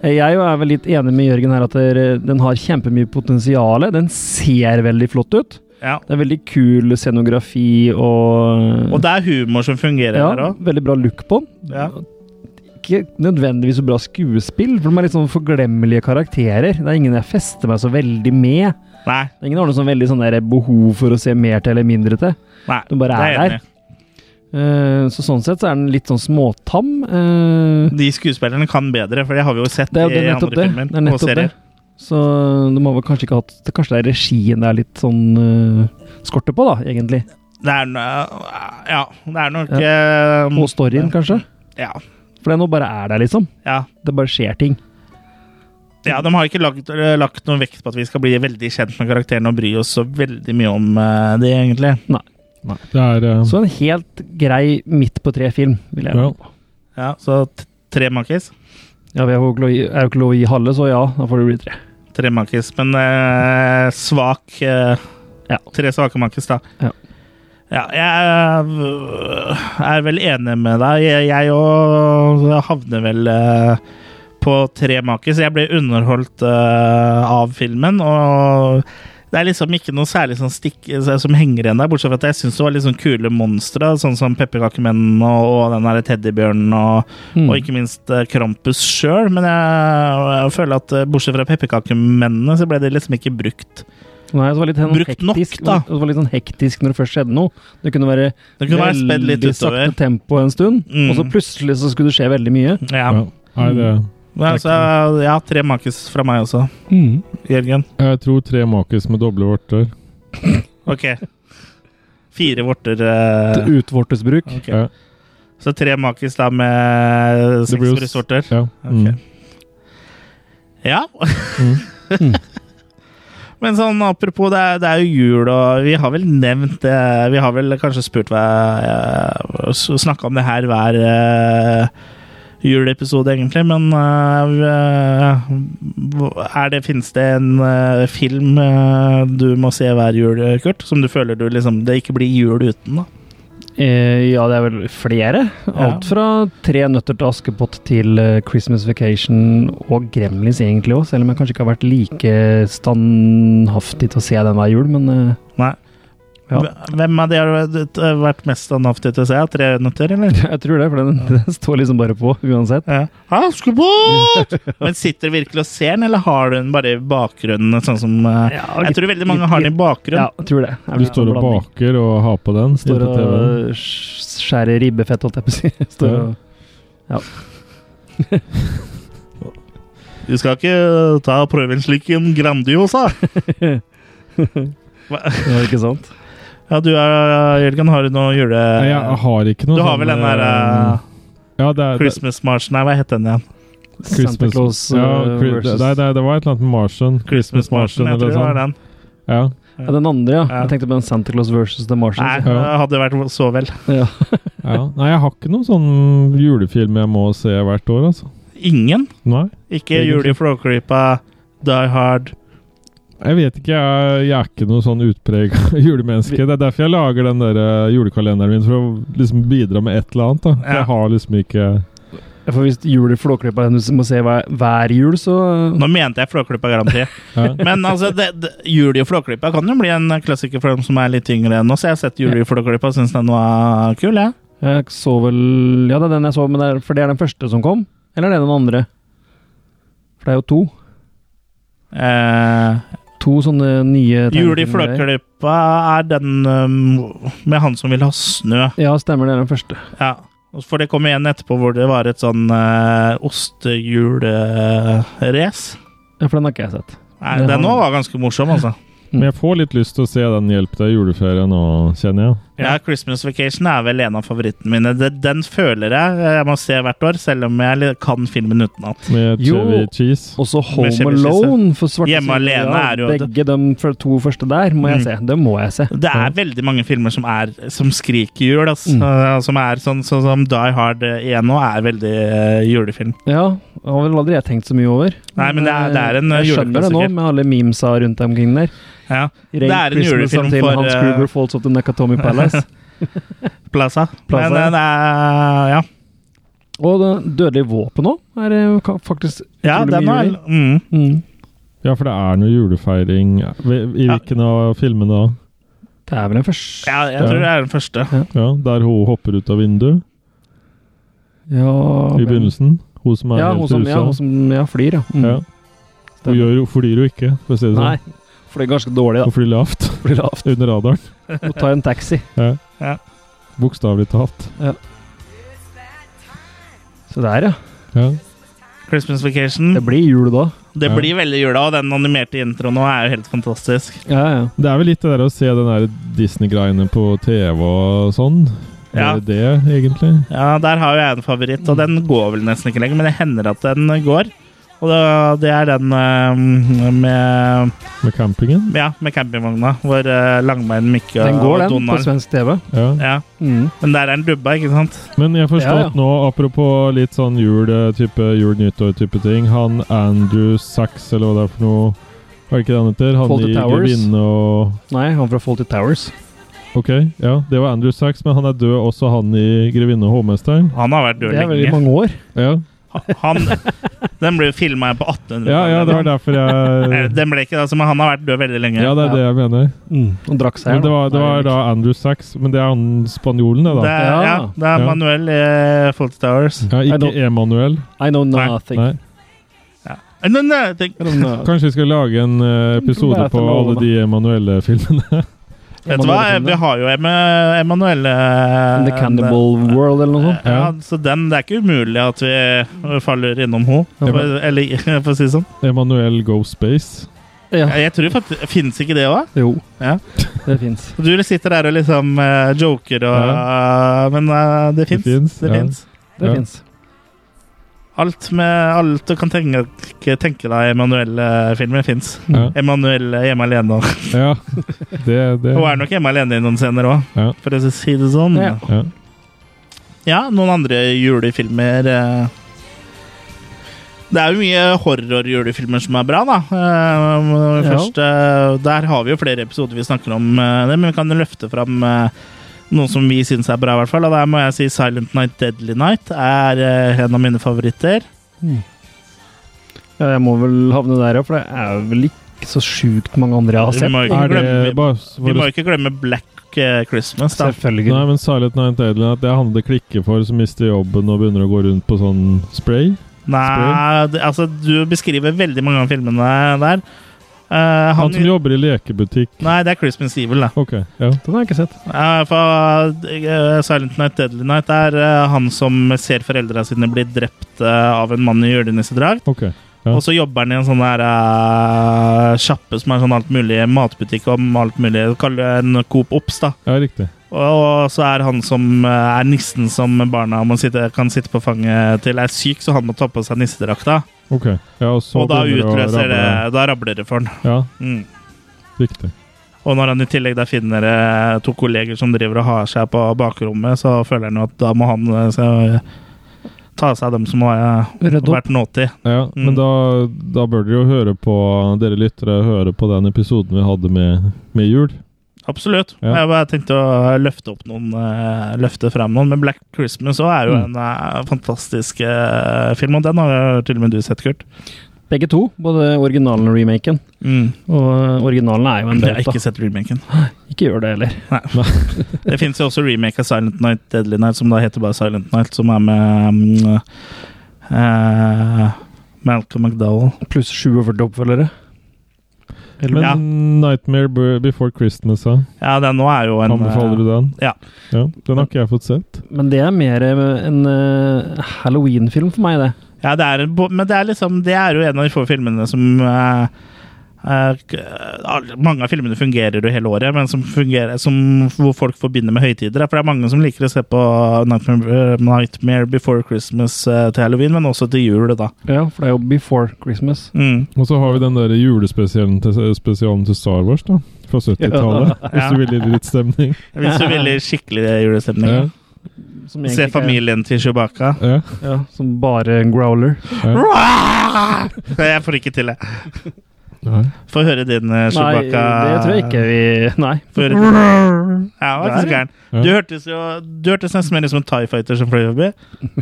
Eh, Jeg er vel litt enig med Jørgen her at der- eh, den har kjempemye potensial. Den ser veldig flott ut. Ja. Det er veldig kul scenografi og Og det er humor som fungerer ja, her òg. veldig bra look på den. Ja. Ikke nødvendigvis så bra skuespill, for de er litt sånn forglemmelige karakterer. Det er ingen jeg fester meg så veldig med. Nei, Det er Ingen har noe sånn veldig sånn der behov for å se mer til eller mindre til. nei, Den bare det er er jeg enig i. Eh, Så sånn sett så er den litt sånn småtam. eh, De skuespillerne kan bedre, for det har vi jo sett Det er jo det, i nettopp andre det. filmer Det er og nettopp det. serier. Så de har vel kanskje ikke hatt det- Kanskje det er regien det er litt sånn eh, skorte på, da, Det egentlig. er, no- ja, det er nok eh, Og storyen, kanskje. ja, For det nå bare er der, liksom. ja. Det bare skjer ting. Ja, De har ikke lagt, lagt noen vekt på at vi skal bli veldig kjent med karakterene og bry oss så veldig mye om eh, det, egentlig. Det er Mm. eh, Så en helt grei midt på tre-film, vil jeg ja. Ja, Så t- tre makis. Ja, vi er jo ikke lov å gi- er jo ikke lov å gi halve, så ja, da får det bli tre. Tre makis, men eh, svak eh, Ja. Tre svake makis, da. Ja. Ja, jeg øh, er vel enig med deg. Jeg- Jeg òg havner vel eh, på tre makis. Jeg ble underholdt eh, av filmen, og det er liksom ikke noe særlig sånn stikk som henger igjen der, bortsett fra at jeg syns det var litt sånn kule monstre, sånn som pepperkakemennene og, og den der teddybjørnen og, Mm. og ikke minst eh, Krampus sjøl. Men jeg, jeg føler at eh, bortsett fra pepperkakemennene, så ble det liksom ikke brukt. Nei, det var litt sånn Brukt nok, hektisk, da. Det var litt sånn hektisk når det først skjedde noe. Det kunne være Det kunne vært spedd litt veldig sakte utover. tempo en stund, Mm. og så plutselig så skulle det skje veldig mye. Ja. ja. Nei, det Men altså, ja, tre makis fra meg også, Mm. Jørgen. Jeg tror tre makis med doble vorter. Ok. Fire vorter. eh, Til utvortesbruk. ok. Ja. Så tre makis da med Det seks blir jo- brystvorter. Ja. Mm. Ok. Ja. Mm. Men sånn apropos, det er, det er jo jul, og vi har vel nevnt det Vi har vel kanskje spurt hver Snakka om det her hver eh, juleepisode, egentlig, men eh, er det, Finnes det en eh, film eh, du må se hver jul, Kurt, som du føler du liksom det ikke blir jul uten? da? Eh, ja, det er vel flere. Alt fra Tre nøtter til Askepott til eh, Christmas Vacation og Gremlins egentlig òg, selv om jeg kanskje ikke har vært like standhaftig til å se den hver jul, men eh, Nei. Ja. Hvem av de har vært- vært mest standhaftig til å se? Tre nøtter, eller? jeg tror det, for den, den står liksom bare på uansett. Ja. Askepott! Men sitter du virkelig og ser den, eller har du den bare i bakgrunnen? Sånn som, eh, Ja, jeg litt- tror veldig mange litt- har den i bakgrunnen. Ja, jeg tror det. Det er Du vel står og en blanding. baker og har på den. Står inn på og eh, TV-en. sk- skjærer ribbefett, holdt jeg på å si. Står Ja. og Du skal ikke eh, ta og prøve en slik en Grandiosa. Ja, ikke sant? Ja, du er, Jørgen, har du noe jule... Nei, jeg har ikke noe sånn, Du har vel den der eh, ja, det er, det, Christmas March Nei, hva heter den igjen? Santa Claus ja, uh, Chri- versus nei, nei, det var et eller annet med Martian. Christmas March, jeg tror det sånn. var den. Ja. ja, Den andre, ja. Ja. Jeg tenkte på den Santa Claus versus The Nei, Martians. det hadde vært så vel. Ja. ja. Nei, jeg har ikke noen sånn julefilm jeg må se hvert år, altså. Ingen. Nei. Ikke Julie Flåklypa, Die Hard. Jeg vet ikke, jeg, jeg er ikke noe sånn utprega julemenneske. Det er derfor jeg lager den der eh, julekalenderen min, for å liksom bidra med et eller annet. da. For Ja. Jeg har liksom ikke Ja, For hvis jul i Flåklypa er noe som må se hver, hver jul, så Nå mente jeg Flåklypa, garanti. ja. Men altså, det, det, Julie Flåklypa kan jo bli en klassiker for dem som er litt yngre enn oss. Jeg har sett Julie Flåklypa og syns den var kul, jeg. Jeg så vel Ja, det er den jeg så, men det er, for det er den første som kom? Eller er det den andre? For det er jo to. Eh, To sånne nye Julie tegnefilmer. Flåklypa er den um, med han som vil ha snø. Ja, stemmer, det er den første. Ja. For det kom igjen etterpå hvor det var et sånn uh, ostehjulrace. Ja, For den har ikke jeg sett. Nei, Den òg var ganske morsom, altså. Men jeg får litt lyst til å se den Hjelp deg i juleferie nå, kjenner jeg. Ja, Christmas Vacation er vel en av favorittene mine. Den, den føler jeg eh, jeg må se hvert år, selv om jeg li- kan filmen utenat. Med Jo. chevy cheese. Også Home Med Chevy Chase, ja. Alone for svarte Hjemme sider. alene Ja, er jo det. Begge de f- to første der må jeg Mm. se. Det må jeg se. Det er veldig mange filmer som, er, som skriker jul, ass. Mm. Eh, Som er sånn sånn som Die Hard 1 nå er veldig eh, julefilm. Ja, det har vel aldri jeg tenkt så mye over. Eh, Nei, men det er- det er en, eh, Jeg skjønner det nå, juleklassiker. med alle memesa rundt omkring der. Ja. Ray Det er en Christmas julefilm until for, Hans eh, Gruber Falls of the Nakatomi Palace. Plaza. Plaza, Men, eh, ja. det er, ja. Og det dødelige våpen òg er eh, ka- faktisk ja, utrolig den mye er jul i. mm. Mm. Ja, for det er noe julefeiring I i Ja. hvilken av filmene da? Det er vel den første Ja, jeg tror det er den første. Ja, Der hun hopper ut av vinduet Ja, i men- begynnelsen? Hun som er Ja, hun helt som, rusa? ja, hun som ja, flyr, ja. Mm. Ja. Hun Stemmer. gjør, jo- flyr jo ikke, for å si det Nei, sånn. for det er ganske dårlig, da. Hun flyr lavt. Flyr lavt. Under radaren. Hun tar en taxi. Ja. Ja. Bokstavelig talt. Se der, ja. Ja. Christmas Vacation. Det blir jul da. Det Ja. blir veldig jula, og den animerte introen nå er jo helt fantastisk. Ja, ja. Det er vel litt det der å se den der Disney-greiene på TV og sånn. Ja. Er det det, egentlig? Ja, Der har jo jeg en favoritt, Mm. og den går vel nesten ikke lenger, men det hender at den eh, går. Og da- det er den eh, med, Med campingen? ja, med campingvogna, hvor eh, Langbein, Mikke Den går, og den, på Donald svensk TV. Ja. ja, Mm. Men der er den dubba, ikke sant? Men jeg har forstått Ja, ja. nå, apropos litt sånn jul-type, jul-nyttår-type ting Han Andrew Sachs, eller hva det er for noe Hva er det ikke det han heter? Han Fawlty i Towers. Grevinne og Nei, han fra Fawlty Towers. Ok, ja, det var Andrew Sachs, men han er død, også han i Grevinne og hovmesteren. Han har vært død Det er vel i lenge. mange år. Ja. Han, den ble jo filma på 1800-tallet. ja, ja, det var derfor Eh, jeg Den ble ikke det, altså, men han har vært død veldig lenge. Ja, det er det jeg mener. Han drakk seg Men det var, det Nei, var da Andrew Sachs, men det er han spanjolen, det, Det da. er, ja, Ja. det er Ja. Manuel eh, Fawlty Towers. Ja, I ikke don't- Emanuel. I know Nei, nothing. Nei. Eh, Nei, nei, tenk, I don't know. Kanskje vi skal lage en eh, episode på alle de Emanuelle-filmene. vet du hva, Emanuel vi Filme. har jo Em- Emanuelle eh, The Cannibal World eller noe sånt. Ja, Ja. så den, det er ikke umulig at vi eh, faller innom henne. Ja, For, eller, for å si det sånn. Emanuel Go Space. Ja. Jeg tror faktisk Fins ikke det òg? Jo, Ja. det fins. Du sitter der og liksom eh, joker og Men eh, det fins. Det, finnes, ja. finnes. Det Ja. finnes. Alt, med, alt du kan tenke, tenke deg Emanuelle-filmen fins. Ja. Emanuelle hjemme alene. også. ja. Det, det. Hun er nok hjemme alene i noen scener òg, Ja. for å si det sånn. Ja. Ja. Ja, noen andre julefilmer eh. Det er jo mye horror-julefilmer som er bra, da. Eh, Ja. Først, eh, der har vi jo flere episoder vi snakker om eh, det, men vi kan løfte fram eh, Noe som vi syns er bra, i hvert fall. Og der må jeg si Silent Night Deadly Night er eh, en av mine favoritter. Ja, jeg må vel havne der, ja, for det er vel ikke så sjukt mange andre jeg har Vi sett. må ikke Er glemme- det bare Vi må ikke glemme Black eh, Christmas, da. Selvfølgelig. Nei, men Silent Night Deadly Night, det er han det klikker for som mister jobben og begynner å gå rundt på sånn spray. Nei, det, altså, du beskriver veldig mange av filmene der. Eh, Han, han, som jobber i lekebutikk. Nei, det er Christmas Evil, da. Ok, ja. Den har jeg ikke sett. Eh, for eh, Silent Night Deadly Night er eh, han som ser foreldra sine bli drept eh, av en mann i julenissedrag. ok. Ja. Og så jobber han i en sånn der eh, sjappe som er sånn alt mulig matbutikk om alt mulig. Kall det en Coop Ops, da. Ja, riktig. Og, og så er han som eh, er nissen som barna må sitte, kan sitte på fanget til, er syk, så han må ta på seg nissedrakta. Ok. Ja, og så Og da begynner å utløser det ramle. Da rabler det for han. Ja, Mm. riktig. Og når han i tillegg da finner eh, to kolleger som driver og har seg på bakrommet, så føler han jo at da må han eh, så, ta seg av dem som har eh, Rydde opp. vært naughty. Ja, Mm. Men da, da bør dere jo høre på Dere lyttere høre på den episoden vi hadde med, med jul. Absolutt. Ja. Jeg bare tenkte å løfte opp noen eh, Løfte frem noen. Men Black Christmas også Mm. er jo en eh, fantastisk eh, film, og den har jo til og med du sett, Kurt. Begge to, både originalen og remaken. Og øh, originalen er jo en Mm. Jeg har bauta. ikke sett remaken. Ikke gjør det heller. Det fins jo også remake av Silent Night Deadly Night, som da heter bare Silent Night, som er med mm, eh, Malcolm McDowell. Pluss 47 oppfølgere. Men Ja. Nightmare Be- Before Christmas, ja. Ja, den nå er jo en Anbefaler du den? eh, ja. ja. Den har ikke jeg fått sett. Men det er mer øh, en øh, Halloween-film for meg, det. Ja, det er, en bo- men det er liksom Det er jo en av de få filmene som eh, eh, k- alle- mange av filmene fungerer jo hele året, men som fungerer, som, hvor folk forbinder med høytider. For det er mange som liker å se på Nightmare, eh, Nightmare Before Christmas eh, til halloween, men også til jul, da. Ja, for det er jo Before Christmas. Mm. Og så har vi den der julespesialen til, spesialen til Star Wars, da. Fra 70-tallet. Hvis du vil i litt stemning. Hvis du vil i skikkelig julestemning. Ja. Som Se egentlig ikke er- familien til Chewbacca. Ja. Ja, som bare en growler. Ja. Nei, Jeg får ikke til det. Nei. Få høre din eh, Nei, Chewbacca. det tror jeg ikke vi Nei. Få høre din. Ja, det var ikke så gæren. Ja. Du hørtes jo Du hørtes nesten mer ut som en Tie Fighter som fløy forbi.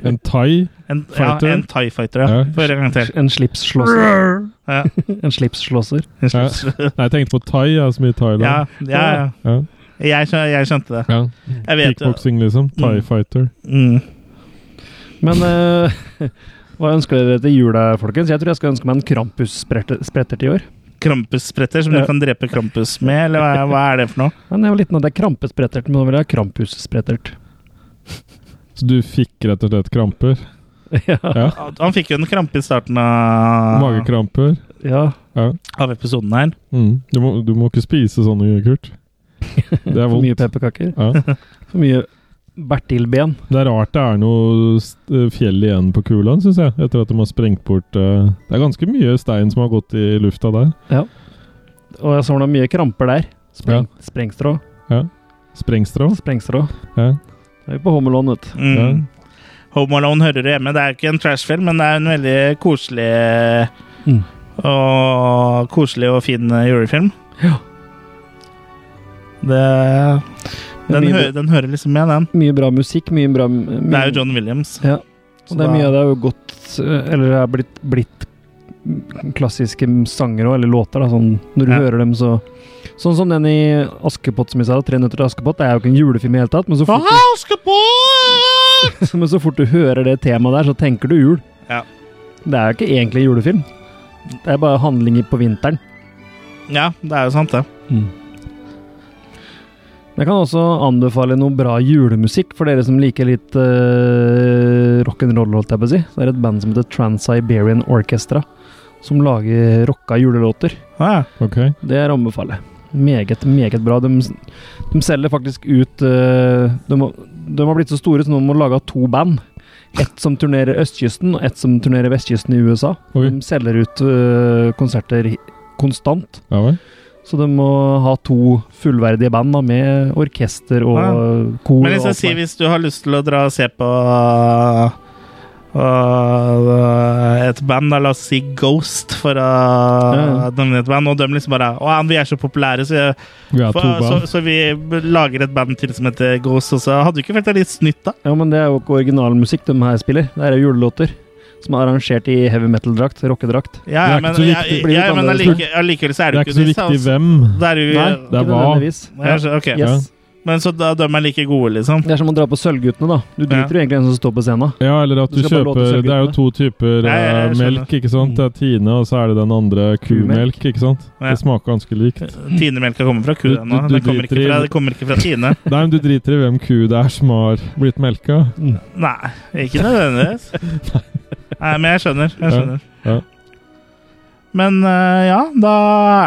En thai. En, ja, Fighter? en Tie Fighter, ja. Ja. Få høre en gang til. En slipsslåsser. Ja. En slipsslåsser. Ja. Nei, jeg tenkte på thai, jeg, som i Thailand. Ja, ja, ja. Ja. Jeg, skjønte, jeg skjønte det. Ja. Jeg vet jo Kickboksing, liksom. Thai Mm. fighter. mm. Men øh, hva ønsker dere til jula, folkens? Jeg tror jeg skal ønske meg en Krampus-spretter til i år. Krampus-spretter som du Ja. kan drepe Krampus med, eller hva, hva er det for noe? Men jeg var liten, og det er krampesprettert, men nå vil jeg ha Krampus-sprettert. Så du fikk rett og slett kramper? ja. Ja. Han fikk jo en krampe i starten av, Magekramper? ja. Ja. av episoden her. Mm. Du, må, du må ikke spise sånne, Kurt. Det er For mye vondt. pepperkaker. Ja. For mye bertilben. Det er rart det er noe st- fjell igjen på kulaen, syns jeg. Etter at de har sprengt bort eh, Det er ganske mye stein som har gått i lufta der. Og jeg så noe mye kramper der. Spreng, Sprengstrå. Sprengstrå. Sprengstrå. Ja. Det er jo på Homelon, vet du. Mm. Ja. Home Alone hører du hjemme. Det er ikke en trashfilm, men det er en veldig koselig Mm. og koselig og fin eh, julefilm. Ja. Det, Det er den, mye hø den hører liksom med, den. Mye bra musikk, mye bra mye, Det er jo John Williams. Ja. Så Og det er da- mye av det er jo godt Eller det er blitt, blitt klassiske sanger òg, eller låter, da. Sånn, når du Ja. hører dem, så Sånn som den i Askepott, som vi sa. 'Tre nøtter til Askepott'. Det er jo ikke en julefilm i det hele tatt, men så fort du Askepott! Men så fort du hører det temaet der, så tenker du jul. Ja. Det er jo ikke egentlig en julefilm. Det er bare handlinger på vinteren. Ja, det er jo sant, det. Jeg kan også anbefale noe bra julemusikk for dere som liker litt uh, rock'n'roll, holdt jeg på å si. Det er et band som heter Trans-Siberian Orchestra, som lager rocka julelåter. Ah, ja. Ok. Det er å anbefale. Meget, meget bra. De, de selger faktisk ut eh, de, har- de har blitt så store så nå må de lage to band. Ett som turnerer østkysten, og ett som turnerer vestkysten i USA. Oi. De selger ut eh, konserter hi- konstant, Ja vel. så de må ha to fullverdige band da, med orkester og Ja. kor. Men og liksom, alt si sånt. hvis du har lyst til å dra og se på uh, Og øh, et band, da, la oss si Ghost, for å nevne et band. Og de liksom bare Å, vi er så populære, så, jeg, Vi er for, to så, band. så vi lager et band til som heter Ghost også. Hadde du ikke følt deg litt snytt, da? Ja, men det er jo ikke originalmusikk de her spiller. Det er jo julelåter som er arrangert i heavy metal-drakt, rockedrakt. Ja, ja, Det er men, ikke så ja, viktig. Blir litt ja, men annerledes. allike, allikevel så er det Det er jo ikke så ikke viktig altså. hvem. Det er jo, det Nei, er ikke hva. nødvendigvis. Ja, så- ok. Ja. Yes. Men så da, de er like gode, liksom? Det er som å dra på Sølvguttene, da. Du driter jo egentlig i hvem som står på scenen. Ja, eller at Du du, skal bare låte kjøper seg Det er jo guttene. to typer Ja, ja, jeg eh, skjønner. melk, ikke sant? Det er Tine, og så er det den andre Kumelk. kumelk, ikke sant? Ja. Det smaker ganske likt. Tinemelka kommer fra Du- kua du- nå. du Det kommer ikke driter i- fra, det kommer ikke fra Tine. Nei, men du driter i hvem ku det er som har blitt melka. Mm. Nei, ikke nødvendigvis. Nei, men jeg skjønner. Jeg Ja, skjønner. ja. Men eh, ja, da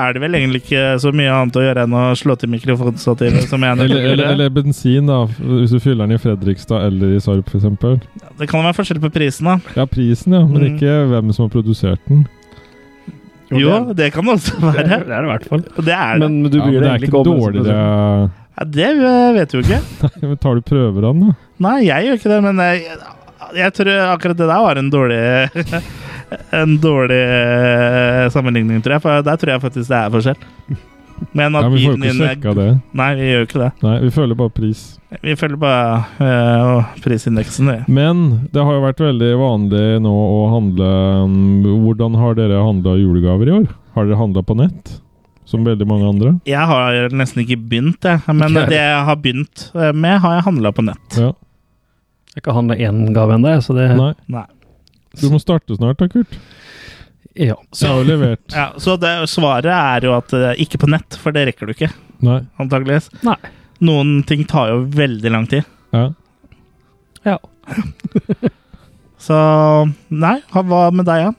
er det vel egentlig ikke så mye annet å gjøre enn å slå til mikrofonstativet, som jeg Eller, nettopp eller, gjorde. eller bensin, da. Hvis du fyller den i Fredrikstad eller i Sarp, f.eks. Det kan jo være forskjell på prisen, da. Ja, prisen, ja. Men Mm. ikke hvem som har produsert den. Jo, Jo, det det kan det også Det er være. det i hvert fall. Og det er det. Men du Ja, bryr men deg det er egentlig ikke ikke om dårligere Ja, det eh, vet du jo ikke. Nei, men Tar du prøver av den, da? Nei, jeg gjør ikke det, men jeg, jeg tror akkurat det der var en dårlig En dårlig eh, sammenligning, tror jeg. For der tror jeg faktisk det er forskjell. Men at Ja, men vi får jo bilen ikke din er- sjekka det. Nei, vi gjør jo ikke det. Nei, vi følger bare pris. Vi følger bare eh, og prisindeksen, vi. Men det har jo vært veldig vanlig nå å handle mm, Hvordan har dere handla julegaver i år? Har dere handla på nett? Som veldig mange andre? Jeg har nesten ikke begynt, jeg. Men det jeg har begynt eh, med, har jeg handla på nett. Ja. Jeg kan handle én gave ennå, jeg, så det Nei. Nei. Du må starte snart da, Kurt. Ja. Jeg har jo levert. Ja, så det, svaret er jo at eh, ikke på nett, for det rekker du ikke, Nei. antageligvis. Nei. Noen ting tar jo veldig lang tid. Ja. Ja. Så nei, ha- hva med deg, ja?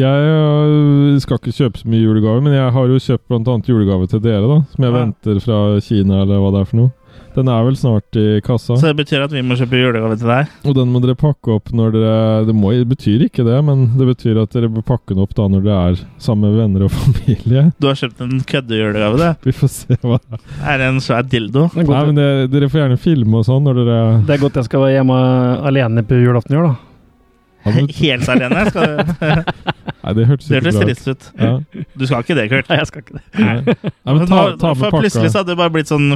Jeg øh, skal ikke kjøpe så mye julegave, men jeg har jo kjøpt bl.a. julegave til dere, da. Som jeg Ja. venter fra Kina, eller hva det er for noe. Den er vel snart i kassa. Så det betyr at vi må kjøpe julegave til deg? Og den må dere pakke opp når dere Det må, det betyr ikke det, men det betyr at dere bør pakke den opp da når dere er sammen med venner og familie. Du har kjøpt en køddejulegave, du. Vi får se hva det er. Er det en svær dildo? Det er Nei, godt, men det, Dere får gjerne filme og sånn når dere det er godt jeg skal være hjemme alene på julaften i år, da. ja, men, Helt alene? Skal du? Nei, det hørtes Det ikke hørtes bra ut. trist ut. Ja. Du skal ikke det, Kurt. Nei, jeg skal ikke det. Nei. Nei, men Men ta, nå- ta med for plutselig så pakka. hadde det bare blitt sånn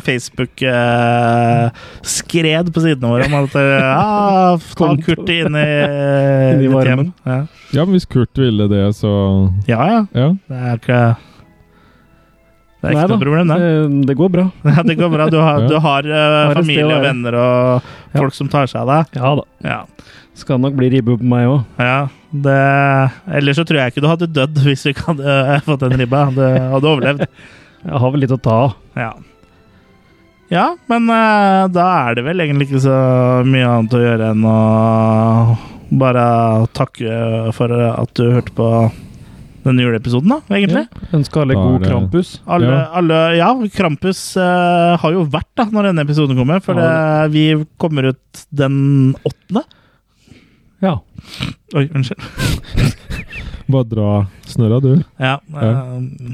Facebook-skred på sidene våre om at eh, ah, ta Konto. Kurt inn i, eh, Inn i ditt varmen. hjem. Ja. Ja, men hvis Kurt ville det, så ja ja, Ja. det er ikke Det er ikke Nei da, noe problem, det. eh, Det går bra. Ja, det går bra. Du har, Ja. du har eh, et sted familie å og være. venner og Ja. folk som tar seg av deg. Ja da. Ja. Skal nok bli ribbe på meg òg. ja det, ellers så tror jeg ikke du hadde dødd hvis du ikke hadde eh, fått den ribba. Du hadde overlevd. Jeg har vel litt å ta av. Ja. Ja, men eh, da er det vel egentlig ikke så mye annet å gjøre enn å bare takke for at du hørte på denne juleepisoden, da, egentlig. Ønsker alle Da er god det- Krampus. Alle, ja. Ja. Alle, ja, Krampus eh, har jo vært da, når denne episoden kommer, for Ja, eh, vi kommer ut den åttende. Ja. Oi, unnskyld. Bare dra snørra, du. Ja, Ja. eh,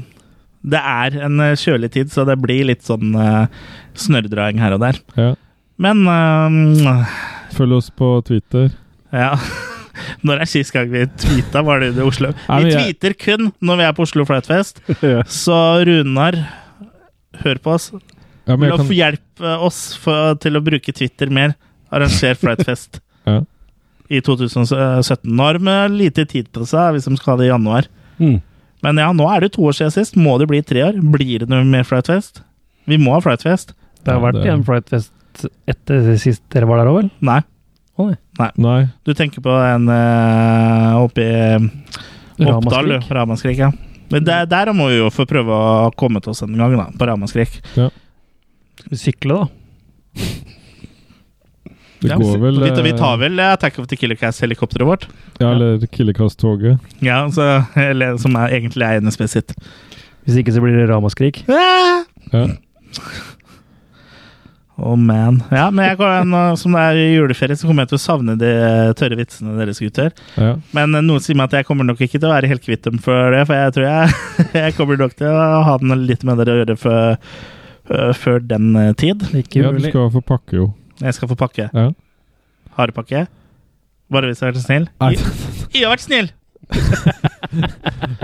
det er en eh, kjølig tid, så det blir litt sånn eh, snørrdraing her og der. Ja. Men eh, Følg oss på Twitter. Ja. Når er sist gang vi tweeta, var det i Oslo? Nei, Vi men jeg- tweeter kun når vi er på Oslo Flightfest. Så Runar, hør på oss. Ja, men jeg Lof, kan, hjelp eh, oss for, til å bruke Twitter mer. Arranger Flightfest ja. i 2017. Nå har de eh, lite tid på seg, vi som skal ha det i januar. Mm. Men ja, nå er det to år siden sist. Må det bli tre år? Blir det noe mer Flightfest? Vi må ha Flightfest. Det har Ja, vært det- en flightfest etter sist dere var der òg, vel? Nei. Å, nei. Nei. Du tenker på en eh, oppi Oppdal, Ramaskrik. du. Ramaskrik, ja. Men der, der må vi jo få prøve å komme til oss en gang, da, på Ramaskrik. Skal vi sykle, da? Det Ja. går vel Vi, vi eh, tar vel eh, Attack of the Killer Cast-helikopteret vårt, Ja, eller Killekast-toget. Ja, så, eller, som er, egentlig er NSB sitt. Hvis ikke så blir det ramaskrik. Ah! Ja. Oh man. Ja, men jeg kommer, nå som det er juleferie, så kommer jeg til å savne de tørre vitsene deres, gutter. ja. Men eh, noen sier meg at jeg kommer nok ikke til å være helt kvitt dem før det, for jeg tror jeg, jeg kommer nok til å ha den litt med dere å gjøre før, eh, før den eh, tid. Ikke ja du mulig. skal få pakke, jo. Jeg skal få pakke. Ja. Harepakke. Bare hvis jeg har vært snill? Nei. Jeg, jeg har vært snill!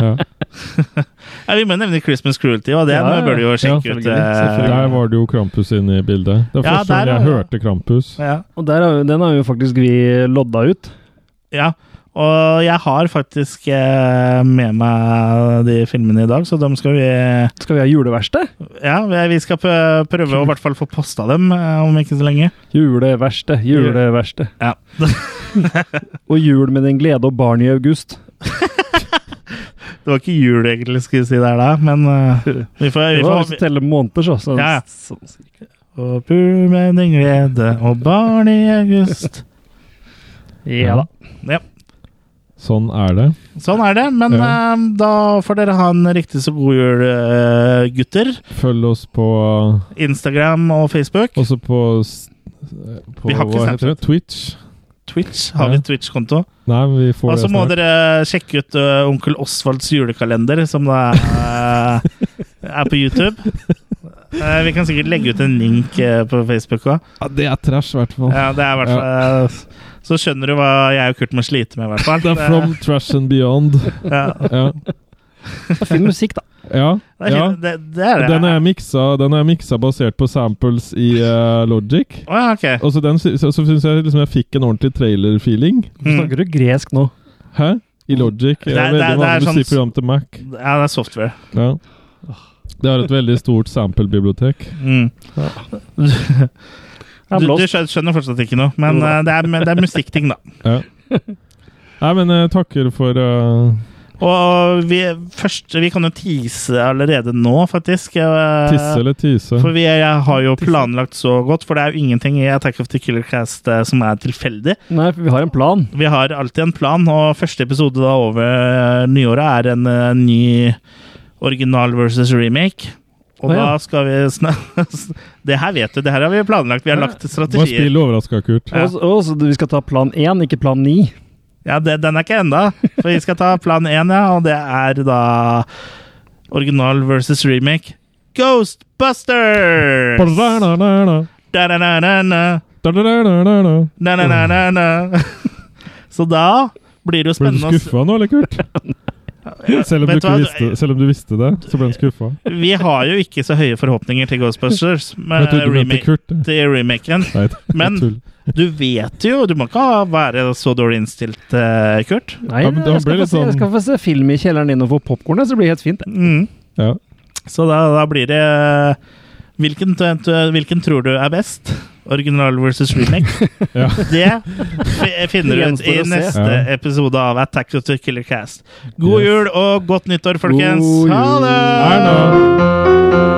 Ja. Ja, vi må nevne Christmas Cruelty, og det Ja, ja. bør du jo sjekke Ja, ut. selvfølgelig, eh, selvfølgelig. Der var det jo Krampus inne i bildet. Det var Ja, første der gang jeg er- hørte Krampus. ja. Og der har, vi- den har jo faktisk vi lodda ut. ja. Og jeg har faktisk eh, med meg de filmene i dag, så dem skal vi Skal vi ha juleverksted? Ja, vi skal prø- prøve å i hvert fall få posta dem eh, om ikke så lenge. Juleverksted, juleverksted. Ja. Og jul med din glede og barn i august. Det var ikke jul egentlig, skulle vi si der da, men eh, vi får, Det vi var får hvis du teller måneder, så. så Ja, ja. sånn cirka. Og pur med din glede og barn i august. ja da. Sånn er det. Sånn er det, men Ja. eh, da får dere ha en riktig så god jul, eh, gutter. Følg oss på eh, Instagram og Facebook. Også på, s- eh, på Vi har ikke hva heter det? Twitch. Twitch har vi Ja. Twitch-konto. Nei, vi får Og det så må snart. dere sjekke ut eh, Onkel Osvalds julekalender, som da eh, er på YouTube. Eh, vi kan sikkert legge ut en link eh, på Facebook òg. Ja, det er trash, i hvert fall. Ja, det er i hvert fall eh, Så skjønner du hva jeg og Kurt må slite med, i hvert fall. Det er From Trash and Beyond. ja, Ja. Det er fin musikk, da. ja. det, er, ja. det, det er det. Den er miksa, den er miksa basert på samples i eh, Logic. Å, ja, ok. Og så, den sy- så, så syns jeg liksom jeg fikk en ordentlig trailer-feeling. Hvorfor Mm. snakker du gresk nå? Hæ? I Logic. Det Det er- er det er- det veldig er vanlig sånn- musikkprogram til Mac. Ja, det er software. Ja. Det har et veldig stort sample-bibliotek. Mm. Jeg Du, er du blåst. skjø- skjønner fortsatt ikke noe, men eh, det er, men det er musikkting, da. Ja. Nei, men eh, takker for uh, Og vi, først, vi kan jo tease allerede nå, faktisk. eh, tisse eller tise. For vi jeg har jo planlagt så godt, for det er jo ingenting i Attack of the Killer Cast eh, som er tilfeldig. Nei, for vi har en plan. Vi har alltid en plan, og første episode da over eh, nyåret er en eh, ny original versus remake. Og Å, ja. da skal vi snak- Det her vet du, det her har vi planlagt. Vi har lagt Var strategier. spill overraska, Kurt? Og så- og så vi skal ta plan én, ikke plan ni. Ja, det, den er ikke enda. For vi skal ta plan én, ja, og det er da original versus remake. Ghostbusters! Da-da-da-da-da. Da-da-da-da-da. Da-da-da-da-da. Na-na-na-na-na. Så da blir det jo Ble du spennende å se. skuffa nå, eller, Kurt? Selv om, du Vet du ikke hva? Eh, visste, selv om du visste det, så ble han skuffa. Vi har jo ikke så høye forhåpninger til Ghostbusters med Jeg trodde du mente eh, remake- Kurt. jeg. til remaken. Nei, det er Men- tull. Du vet jo, du må ikke ha- være så dårlig innstilt, eh, Kurt. Nei, Ja, men da jeg, skal blir få det se, jeg sånn- skal få se film i kjelleren din og få popkorn, så blir det helt fint. det. Mm. Ja. Så da, da blir det hvilken, t- t- hvilken tror du er best? Original versus remake? Ja. Det fi- finner du ut i Gjenstår å se. neste Ja. episode av Attack of the Killer Cast. God Yes. jul og godt nyttår, folkens! God Ha jul. det! Erna!